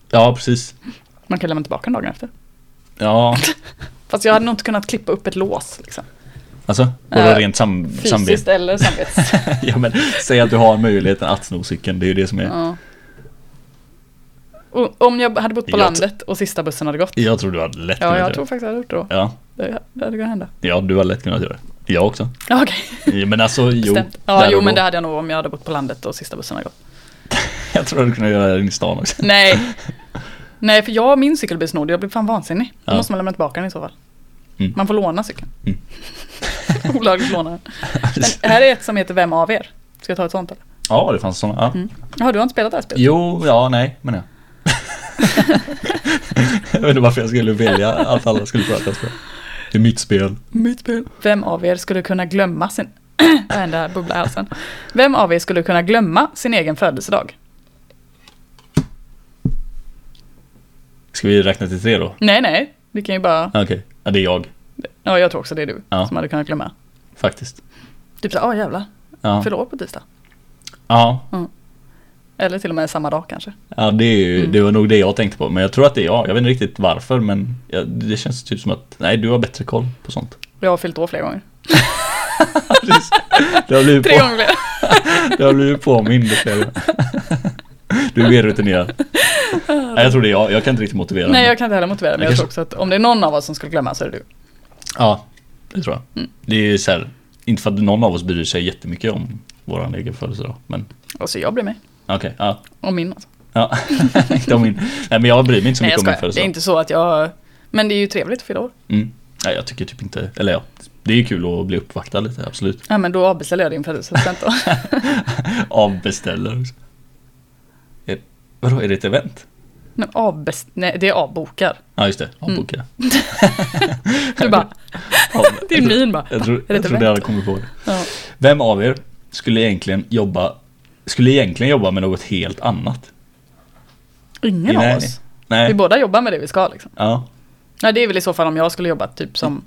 Speaker 1: ja, precis.
Speaker 2: Man kan lämna tillbaka den dagen efter.
Speaker 1: Ja,
Speaker 2: Fast jag hade nog inte kunnat klippa upp ett lås. Liksom.
Speaker 1: alltså, vadå
Speaker 2: Eh,
Speaker 1: rent sam, samvete?
Speaker 2: Fysiskt eller samvets.
Speaker 1: ja, men, säg att du har möjligheten att sno cykeln, det är ju det som är...
Speaker 2: ja. Och Om jag hade bott på
Speaker 1: Jag tr-
Speaker 2: landet och sista bussen hade gått.
Speaker 1: Jag tror du hade lätt
Speaker 2: Ja,
Speaker 1: kunnat
Speaker 2: jag
Speaker 1: göra
Speaker 2: tror faktiskt jag hade gjort det då.
Speaker 1: det. Ja,
Speaker 2: Det, det hade kunnat hända.
Speaker 1: ja, du har lätt kunnat göra det. Jag också.
Speaker 2: Ja, Okej,
Speaker 1: Ja, Men alltså, jo.
Speaker 2: bestämt. Ja,
Speaker 1: där
Speaker 2: jo,
Speaker 1: och
Speaker 2: men
Speaker 1: då.
Speaker 2: det hade jag nog om jag hade bott på landet och sista bussen hade gått.
Speaker 1: Jag tror du hade kunnat göra det inne i stan också.
Speaker 2: Nej. Nej, för jag min cykel blir snodd. Jag blir fan vansinnig. Då
Speaker 1: Ja.
Speaker 2: måste man lämna tillbaka den i så fall.
Speaker 1: Mm.
Speaker 2: Man får låna cykeln.
Speaker 1: Mm.
Speaker 2: Olagligt låna den. Men här är ett som heter Vem av er? Ska jag ta ett sånt eller?
Speaker 1: Ja, det fanns sådana.
Speaker 2: Mm.
Speaker 1: Ja.
Speaker 2: Jaha, du har inte spelat det här spelet?
Speaker 1: Jo, ja, nej, men ja. jag vet inte varför jag skulle välja att alla skulle prata spel. Det är mitt spel.
Speaker 2: Mitt spel. Vem av er skulle kunna glömma sin... Den där bubbla i halsen. Vem av er skulle kunna glömma sin egen födelsedag?
Speaker 1: Ska vi räkna till tre då?
Speaker 2: Nej, nej. Vi kan ju bara...
Speaker 1: Okej, ja, det är jag.
Speaker 2: Ja, jag tror också det är du
Speaker 1: Ja.
Speaker 2: som hade kunnat glömma.
Speaker 1: Faktiskt.
Speaker 2: Typ såhär, åh jävlar,
Speaker 1: Ja,
Speaker 2: fyller år på tisdag.
Speaker 1: ja.
Speaker 2: Eller till och med samma dag kanske.
Speaker 1: ja det, är ju,
Speaker 2: Mm.
Speaker 1: det var nog det jag tänkte på. Men jag tror att det är jag. Jag vet inte riktigt varför, men jag, det känns typ som att nej, du har bättre koll på sånt.
Speaker 2: Jag har fyllt år flera gånger.
Speaker 1: Precis. Det har blivit,
Speaker 2: Tre
Speaker 1: på,
Speaker 2: gånger fler.
Speaker 1: det har blivit påmind. flera gånger. Du är mer rutinerad. Nej, jag tror det är jag. Jag kan inte riktigt motivera
Speaker 2: Nej,
Speaker 1: mig.
Speaker 2: jag kan inte heller motivera men
Speaker 1: Jag
Speaker 2: jag tror också att om det är någon av oss som skulle glömma så är det du.
Speaker 1: Ja, det tror
Speaker 2: Mm.
Speaker 1: jag. Det är ju så här, inte för att någon av oss bryr sig jättemycket om våran egen födelsedag, men
Speaker 2: Och så jag blir med.
Speaker 1: okej. ja.
Speaker 2: Och min alltså.
Speaker 1: Ja, inte om min. Nej men jag bryr mig inte så
Speaker 2: Nej,
Speaker 1: mycket om min
Speaker 2: jag skojar. Det är
Speaker 1: födelsedag.
Speaker 2: inte så att jag... Men det är ju trevligt att fylla år.
Speaker 1: Mm. Nej jag tycker typ inte, eller ja. Det är ju kul att bli uppvaktad lite, absolut.
Speaker 2: Ja, men då avbeställer jag din födelsedagspresent då.
Speaker 1: Avbeställer också. Är, vadå, är det ett event?
Speaker 2: Men avbest... Nej, det är avbokar.
Speaker 1: Ja just det,
Speaker 2: Mm.
Speaker 1: avboka.
Speaker 2: Du bara,
Speaker 1: Ja,
Speaker 2: det är min bara.
Speaker 1: Jag, tror,
Speaker 2: Är det
Speaker 1: jag
Speaker 2: ett
Speaker 1: trodde
Speaker 2: event?
Speaker 1: jag hade kommit på det.
Speaker 2: Ja.
Speaker 1: Vem av er skulle egentligen jobba, skulle egentligen jobba med något helt annat?
Speaker 2: Ingen
Speaker 1: Nej.
Speaker 2: av oss. Vi
Speaker 1: Nej.
Speaker 2: båda jobbar med det vi ska liksom.
Speaker 1: Ja.
Speaker 2: Nej, det är väl i så fall om jag skulle jobba typ som...
Speaker 1: Mm.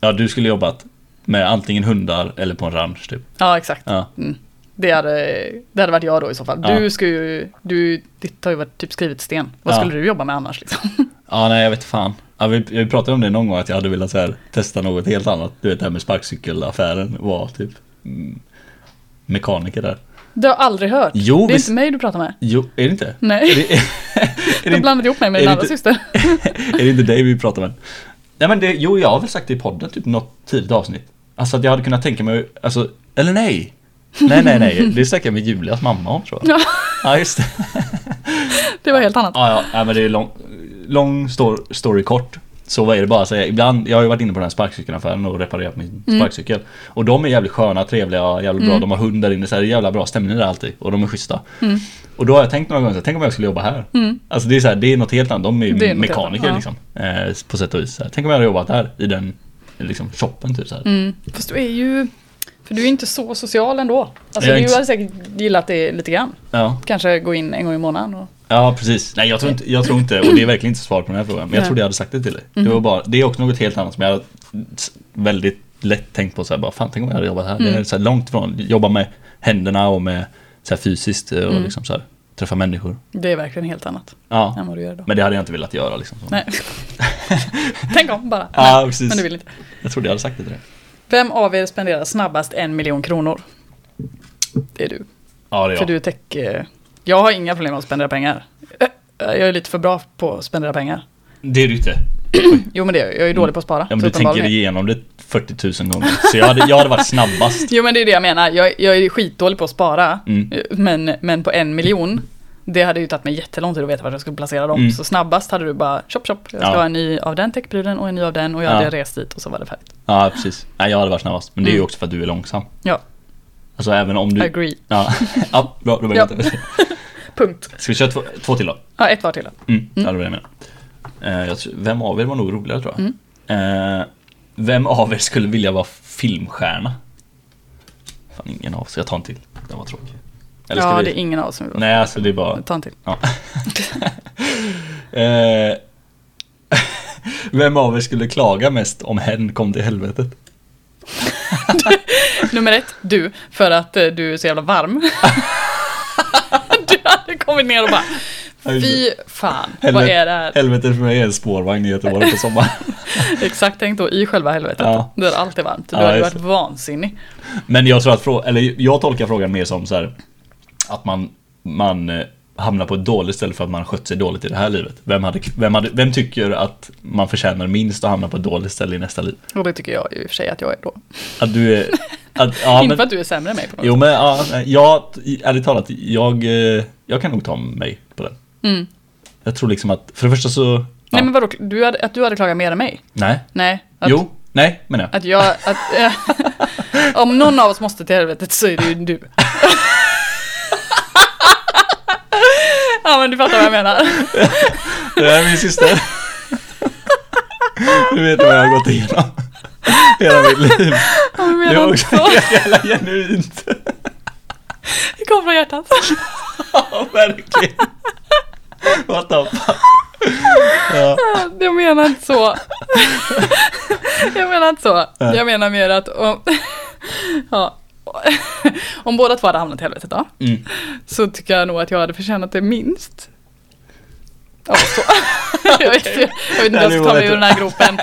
Speaker 1: Ja, du skulle jobbat med antingen hundar eller på en ranch typ.
Speaker 2: Ja, exakt.
Speaker 1: Ja.
Speaker 2: Mm. Det hade, det hade varit jag då i så fall.
Speaker 1: Ja.
Speaker 2: Du, ska ju, du, ditt har ju varit typ skrivet i sten. Vad
Speaker 1: Ja.
Speaker 2: skulle du jobba med annars liksom?
Speaker 1: Ja, nej jag vet fan. Ja, vi, vi pratade om det någon gång att jag hade velat så här, testa något helt annat. Du vet det här med sparkcykelaffären var typ mm, mekaniker där.
Speaker 2: Det har jag aldrig hört.
Speaker 1: Jo,
Speaker 2: det är
Speaker 1: visst.
Speaker 2: inte mig du pratar med.
Speaker 1: Jo, är det inte?
Speaker 2: Nej,
Speaker 1: Är det,
Speaker 2: du
Speaker 1: är det,
Speaker 2: har
Speaker 1: inte,
Speaker 2: blandat ihop mig med
Speaker 1: är
Speaker 2: din
Speaker 1: det
Speaker 2: andra
Speaker 1: inte-
Speaker 2: syster.
Speaker 1: är det inte dig vi pratar med? Nej men det, jo jag har väl sagt det i podden typ något tidigt avsnitt. Alltså att jag hade kunnat tänka mig, alltså, eller nej. Nej nej nej, det snackade jag med Julias mamma om tror jag.
Speaker 2: Ja.
Speaker 1: Ja just det.
Speaker 2: Det var helt annat.
Speaker 1: Ja, ja, nej, men det är lång, lång story, story kort. Så vad är det bara att säga? Ibland, jag har ju varit inne på den här sparkcykelaffären och reparerat min
Speaker 2: Mm.
Speaker 1: sparkcykel. Och de är jävligt sköna, trevliga, jävligt bra. De har hund där inne, så här, det är jävla bra stämning där alltid. Och de är schyssta.
Speaker 2: Mm.
Speaker 1: Och då har jag tänkt några gånger, så här, tänk om jag skulle jobba här. Alltså det är, så här, det är något helt annat. De är
Speaker 2: Det är
Speaker 1: ju
Speaker 2: något helt
Speaker 1: mekaniker
Speaker 2: annat,
Speaker 1: liksom. Eh, på sätt och vis. Så här. Tänk om jag hade jobbat här i den liksom, shoppen typ. Så här.
Speaker 2: Mm. Fast du är ju... För du är inte så social ändå.
Speaker 1: Jag
Speaker 2: Alltså,
Speaker 1: är
Speaker 2: du
Speaker 1: inte-
Speaker 2: hade säkert gillat det lite grann.
Speaker 1: Ja.
Speaker 2: Kanske gå in en gång i månaden och...
Speaker 1: ja, precis. Nej jag tror, inte, jag tror inte, och det är verkligen inte svar på den här frågan. Men jag
Speaker 2: Nej. Mhm.
Speaker 1: trodde jag hade sagt det till dig. Det, var bara, det är också något helt annat som jag hade s- väldigt lätt tänkt på. Så här, bara, fan tänk om jag hade jobbat här.
Speaker 2: Mm.
Speaker 1: Det är så här, långt ifrån. Jobba med händerna och med så här, fysiskt och
Speaker 2: Mm.
Speaker 1: liksom så här, träffa människor.
Speaker 2: Det är verkligen helt annat
Speaker 1: Ja.
Speaker 2: än vad du gör då.
Speaker 1: Men det hade jag inte velat göra liksom. Så.
Speaker 2: Nej. Tänk om bara.
Speaker 1: Ja,
Speaker 2: Nej,
Speaker 1: precis.
Speaker 2: Men du vill inte.
Speaker 1: Jag trodde jag hade sagt det till dig.
Speaker 2: Vem av er spenderar snabbast en miljon kronor? Det är du.
Speaker 1: Ja, det är
Speaker 2: För
Speaker 1: jag.
Speaker 2: du är tech... eh, Jag har inga problem med att spendera pengar. Eh, eh, Jag är lite för bra på att spendera pengar.
Speaker 1: Det är du inte.
Speaker 2: Jo men det är jag. Jag är dålig på att spara.
Speaker 1: Mm. Ja, men
Speaker 2: så
Speaker 1: du tänker
Speaker 2: uppenbarligen.
Speaker 1: igenom det 40 000 gånger. Så jag hade, jag hade varit snabbast.
Speaker 2: Jo men det är det jag menar, jag, jag är skitdålig på att spara, eh,
Speaker 1: Mm.
Speaker 2: men, men på en miljon, det hade ju tagit mig jättelång tid att veta vart jag skulle placera dem.
Speaker 1: Mm.
Speaker 2: Så snabbast hade du bara, chop chop, jag ska
Speaker 1: Ja.
Speaker 2: ha en ny av den techprylen och en ny av den och jag
Speaker 1: Ja.
Speaker 2: hade rest dit och så var det färdigt.
Speaker 1: Ja, precis. Nej, jag hade varit snabbast. Men det är
Speaker 2: Mm.
Speaker 1: ju också för att du är långsam.
Speaker 2: Ja,
Speaker 1: Alltså även om du...
Speaker 2: agree.
Speaker 1: Ja, ja bra. Då var det
Speaker 2: Ja.
Speaker 1: inte.
Speaker 2: Punkt.
Speaker 1: Ska vi köra två, två till då?
Speaker 2: Ja, ett var till då.
Speaker 1: Mm, ja, det var det jag menade. Eh, jag tror, vem av er var nog roligare tror jag.
Speaker 2: Mm.
Speaker 1: Eh, vem av er skulle vilja vara filmstjärna? Fan, ingen av oss. Jag tar en till. Den var tråkig. Eller ska
Speaker 2: Ja,
Speaker 1: vi?
Speaker 2: det är ingen av oss som vill vara.
Speaker 1: Nej, alltså det är bara...
Speaker 2: Ta en till.
Speaker 1: Ja. eh, vem av er skulle klaga mest om hen kom till helvetet?
Speaker 2: Nummer ett, du, för att eh, du är så jävla varm. du hade kommit ner och bara, fy fan, vad
Speaker 1: Helvete-
Speaker 2: är det här?
Speaker 1: Helvetet för mig är en spårvagn i Göteborg på sommaren.
Speaker 2: Exakt tänkt då, i själva helvetet.
Speaker 1: Ja.
Speaker 2: Där allt är varmt. Du
Speaker 1: Ja,
Speaker 2: hade
Speaker 1: just
Speaker 2: varit vansinnig.
Speaker 1: Men jag tror att frå- eller jag tolkar frågan mer som så här att man, man eh, hamnar på ett dåligt ställe för att man har skött sig dåligt i det här livet. Vem, hade, vem, hade, vem tycker att man förtjänar minst att hamna på ett dåligt ställe i nästa liv?
Speaker 2: Och det tycker jag ju i och för sig att jag är då.
Speaker 1: Att du är... Att, ja,
Speaker 2: inte
Speaker 1: men,
Speaker 2: för att du är sämre än mig på något
Speaker 1: jo men ja, nej, jag, ärligt talat, jag, eh, jag kan nog ta mig på den.
Speaker 2: Mm.
Speaker 1: Jag tror liksom att, för det första så... Ja,
Speaker 2: Nej men vadå, du hade, att du hade klagat mer än mig?
Speaker 1: nej.
Speaker 2: Nej. Att,
Speaker 1: Jo, nej menar jag.
Speaker 2: Att jag, att, eh, om någon av oss måste till helvetet så är det ju du. ja men du fattar vad jag menar.
Speaker 1: Det här är min syster. Du vet vad jag har gått igenom. Hela mitt liv.
Speaker 2: Ja, men
Speaker 1: Det
Speaker 2: jag menar
Speaker 1: var också
Speaker 2: inte så.
Speaker 1: jävla genuint.
Speaker 2: Det kom från hjärtat.
Speaker 1: Ja, verkligen. What the fuck. Ja,
Speaker 2: Jag menar inte så. Jag menar inte så. Jag menar mer att om, ja, om båda två hade hamnat i helvetet då,
Speaker 1: mm.
Speaker 2: så tycker jag nog att jag hade förtjänat det minst. Ja, så. jag, vet, jag vet inte hur jag
Speaker 1: Nej, det
Speaker 2: ska
Speaker 1: var
Speaker 2: ta mig
Speaker 1: lite-
Speaker 2: ur den här gropen.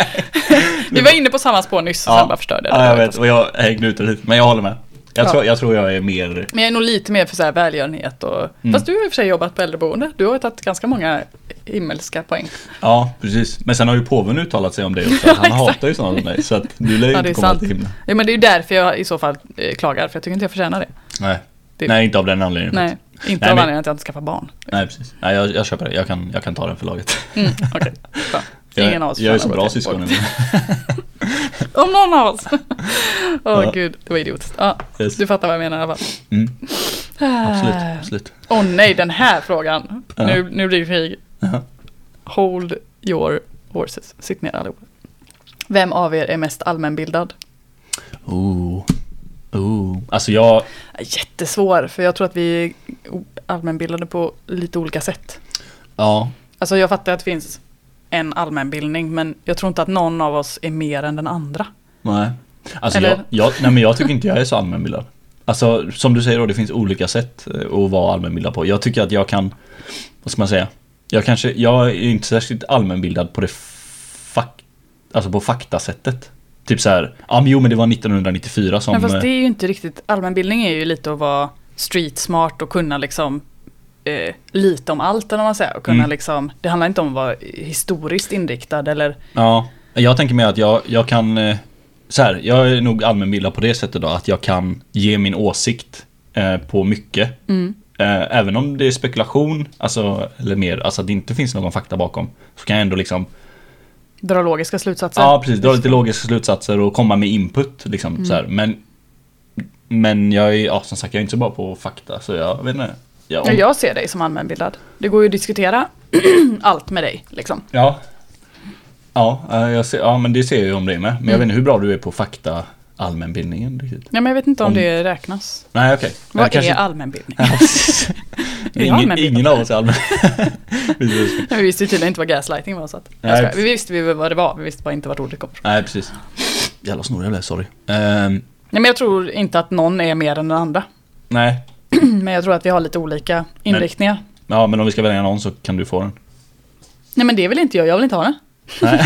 Speaker 2: Vi var inne på samma spår nyss, och sen bara förstörde
Speaker 1: ja, jag
Speaker 2: det.
Speaker 1: vet. Och jag hängde ut det lite. Men jag håller med. Jag,
Speaker 2: Ja.
Speaker 1: tror, jag tror jag är mer...
Speaker 2: Men jag är nog lite mer för så här välgörenhet och...
Speaker 1: Mm.
Speaker 2: Fast du har i och för sig jobbat på äldreboende. Du har ju tagit ganska många himmelska poäng.
Speaker 1: Ja, precis. Men sen har ju påven uttalat sig om dig också.
Speaker 2: Ja,
Speaker 1: Han
Speaker 2: exakt.
Speaker 1: hatar ju sådana som dig. Så att du lär ju
Speaker 2: Ja,
Speaker 1: inte
Speaker 2: det är
Speaker 1: komma
Speaker 2: sant.
Speaker 1: till himlen.
Speaker 2: Ja, men det är ju därför jag i så fall eh, klagar, för jag tycker inte jag förtjänar det.
Speaker 1: Nej.
Speaker 2: Det-
Speaker 1: Nej, inte av den anledningen.
Speaker 2: Nej,
Speaker 1: faktiskt.
Speaker 2: inte
Speaker 1: Mm. Nej,
Speaker 2: av
Speaker 1: men-
Speaker 2: anledningen att jag inte skaffar barn.
Speaker 1: Nej, precis. Nej, jag, jag köper det. Jag kan, jag kan ta den för laget.
Speaker 2: Mm, Okej, bra. Ingen av
Speaker 1: jag,
Speaker 2: oss
Speaker 1: jag är så
Speaker 2: förtjänar
Speaker 1: bra
Speaker 2: vårt
Speaker 1: syskon.
Speaker 2: barn.
Speaker 1: ändå.
Speaker 2: Om någon av oss. Åh
Speaker 1: Ja.
Speaker 2: gud, det var idiotiskt. Ja,
Speaker 1: Yes.
Speaker 2: du fattar vad jag menar i alla fall.
Speaker 1: Mm, absolut,
Speaker 2: Ah.
Speaker 1: absolut.
Speaker 2: Åh nej, den här frågan.
Speaker 1: Ja.
Speaker 2: Nu, nu blir det krig.
Speaker 1: Ja.
Speaker 2: Hold your horses. Sitt ner allihopa. Vem av er är mest allmänbildad?
Speaker 1: Oh. Oh. Alltså jag,
Speaker 2: Jättesvår, för jag tror att vi är o- allmänbildade på lite olika sätt.
Speaker 1: ja.
Speaker 2: Alltså jag fattar att det finns en allmänbildning, men jag tror inte att någon av oss är mer än den andra.
Speaker 1: Nej. Alltså
Speaker 2: Eller?
Speaker 1: jag, jag, nej men jag tycker inte jag är så allmänbildad. Alltså som du säger då, det finns olika sätt eh, att vara allmänbildad på. Jag tycker att jag kan, vad ska man säga? Jag kanske, jag är inte särskilt allmänbildad på det fak, alltså på faktasättet. Typ så här, ja men jo men det var 1994 som...
Speaker 2: Men fast
Speaker 1: eh,
Speaker 2: det är ju inte riktigt, allmänbildning är ju lite att vara street smart och kunna liksom eh, lite om allt eller vad man säger. Och kunna
Speaker 1: Mm.
Speaker 2: liksom, det handlar inte om att vara historiskt inriktad eller
Speaker 1: Ja, jag tänker mer att jag, jag kan... eh, Så här, jag är nog allmänbildad på det sättet då, att jag kan ge min åsikt eh, på mycket.
Speaker 2: Mm.
Speaker 1: Eh, även om det är spekulation, alltså, eller mer, alltså att det inte finns någon fakta bakom. Så kan jag ändå liksom,
Speaker 2: dra logiska slutsatser.
Speaker 1: ja precis, dra lite logiska slutsatser och komma med input liksom.
Speaker 2: Mm.
Speaker 1: Så här. Men, men jag är, ja som sagt, jag är inte så bra på fakta, så jag vet inte. Jag,
Speaker 2: Ja, Jag ser dig som allmänbildad. Det går ju att diskutera allt med dig. Liksom.
Speaker 1: Ja. Ja, eh, jag ser, ja, men det ser jag ju om det med. Men
Speaker 2: Mm.
Speaker 1: jag vet inte hur bra du är på fakta allmänbildningen riktigt.
Speaker 2: Ja, men jag vet inte om,
Speaker 1: Om-
Speaker 2: det räknas.
Speaker 1: Nej, okej.
Speaker 2: Vad
Speaker 1: Jag kanske-
Speaker 2: är allmänbildning?
Speaker 1: Ja, precis.
Speaker 2: Är jag
Speaker 1: ingen,
Speaker 2: allmänbildad?
Speaker 1: ingen av oss är allmän. Precis.
Speaker 2: Nej, vi visste ju tydligen inte vad gaslighting var. Så att,
Speaker 1: Nej.
Speaker 2: jag skojar. vi visste ju vad det var, vi visste bara inte vart ordet kom ifrån.
Speaker 1: Nej, precis. Jävla snorig jag blev, sorry. Ehm,
Speaker 2: Nej, men jag tror inte att någon är mer än den andra.
Speaker 1: nej,
Speaker 2: Men jag tror att vi har lite olika inriktningar.
Speaker 1: ja men om vi ska välja någon så kan du få den.
Speaker 2: Nej, men det vill inte jag. Jag vill inte ha den.
Speaker 1: Nej,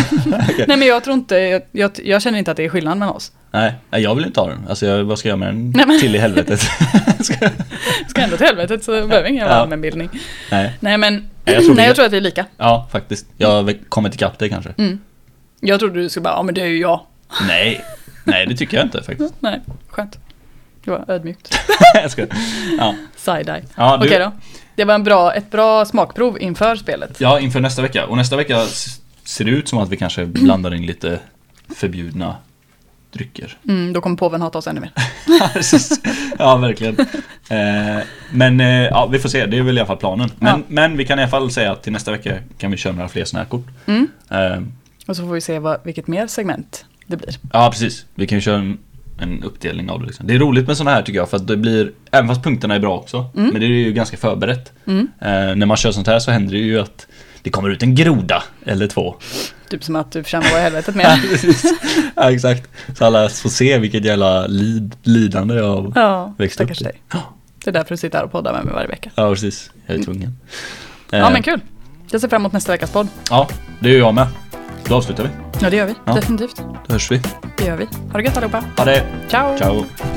Speaker 1: okej.
Speaker 2: Nej, men jag tror inte... Jag, jag, jag känner inte att det är skillnad mellan oss.
Speaker 1: nej, nej, jag vill inte ha den. Alltså jag, vad ska jag med den
Speaker 2: Nej, men-
Speaker 1: till i helvetet? Ska jag-
Speaker 2: Ska ändå till helvetet så behöver ingen
Speaker 1: Ja.
Speaker 2: allmänbildning.
Speaker 1: nej,
Speaker 2: Nej, men...
Speaker 1: jag tror vi-
Speaker 2: nej, jag tror att vi är lika.
Speaker 1: ja faktiskt. Jag kommer till kapp dig kanske.
Speaker 2: Mm. Jag trodde du skulle bara, ja men det är ju jag.
Speaker 1: Nej, nej det tycker jag inte faktiskt.
Speaker 2: Nej, skönt. Det var ödmjukt.
Speaker 1: Jag skojar. ja.
Speaker 2: Side-eye.
Speaker 1: Ja, du-
Speaker 2: Okej då. Det var en bra, ett bra smakprov inför spelet.
Speaker 1: ja, inför nästa vecka. Och nästa vecka s- ser det ut som att vi kanske blandar in lite förbjudna drycker.
Speaker 2: Mm, då kommer påven hata oss ännu mer.
Speaker 1: Precis. ja, verkligen. Eh, men eh, ja, vi får se, det är väl i alla fall planen. Men,
Speaker 2: Ja.
Speaker 1: men vi kan i alla fall säga att till nästa vecka kan vi köra några fler sådana här kort.
Speaker 2: Mm.
Speaker 1: Eh,
Speaker 2: Och så får vi se vad, vilket mer segment det blir.
Speaker 1: ja, precis. Vi kan ju köra en, en uppdelning av det. Liksom. Det är roligt med sådana här tycker jag, för att det blir, även fast punkterna är bra också,
Speaker 2: Mm.
Speaker 1: men det är ju ganska förberett. Eh, när man kör sånt här så händer det ju att det kommer ut en groda eller två.
Speaker 2: Typ som att du förtjänar vara i helvetet med.
Speaker 1: ja, exakt. Så alla får se vilket jävla lid, lidande jag har
Speaker 2: Ja,
Speaker 1: växt upp
Speaker 2: stackars
Speaker 1: i.
Speaker 2: dig. Det är därför du sitter här och poddar med mig varje vecka.
Speaker 1: Ja, precis. Jag är tvungen.
Speaker 2: Ja,
Speaker 1: Eh,
Speaker 2: men kul. Jag ser fram emot nästa veckas podd.
Speaker 1: Ja, det gör jag med. Då avslutar vi.
Speaker 2: Ja, det gör vi.
Speaker 1: Ja.
Speaker 2: Definitivt.
Speaker 1: Då hörs vi.
Speaker 2: Det gör vi. Ha det gött allihopa.
Speaker 1: Ha det.
Speaker 2: Ciao.
Speaker 1: Ciao.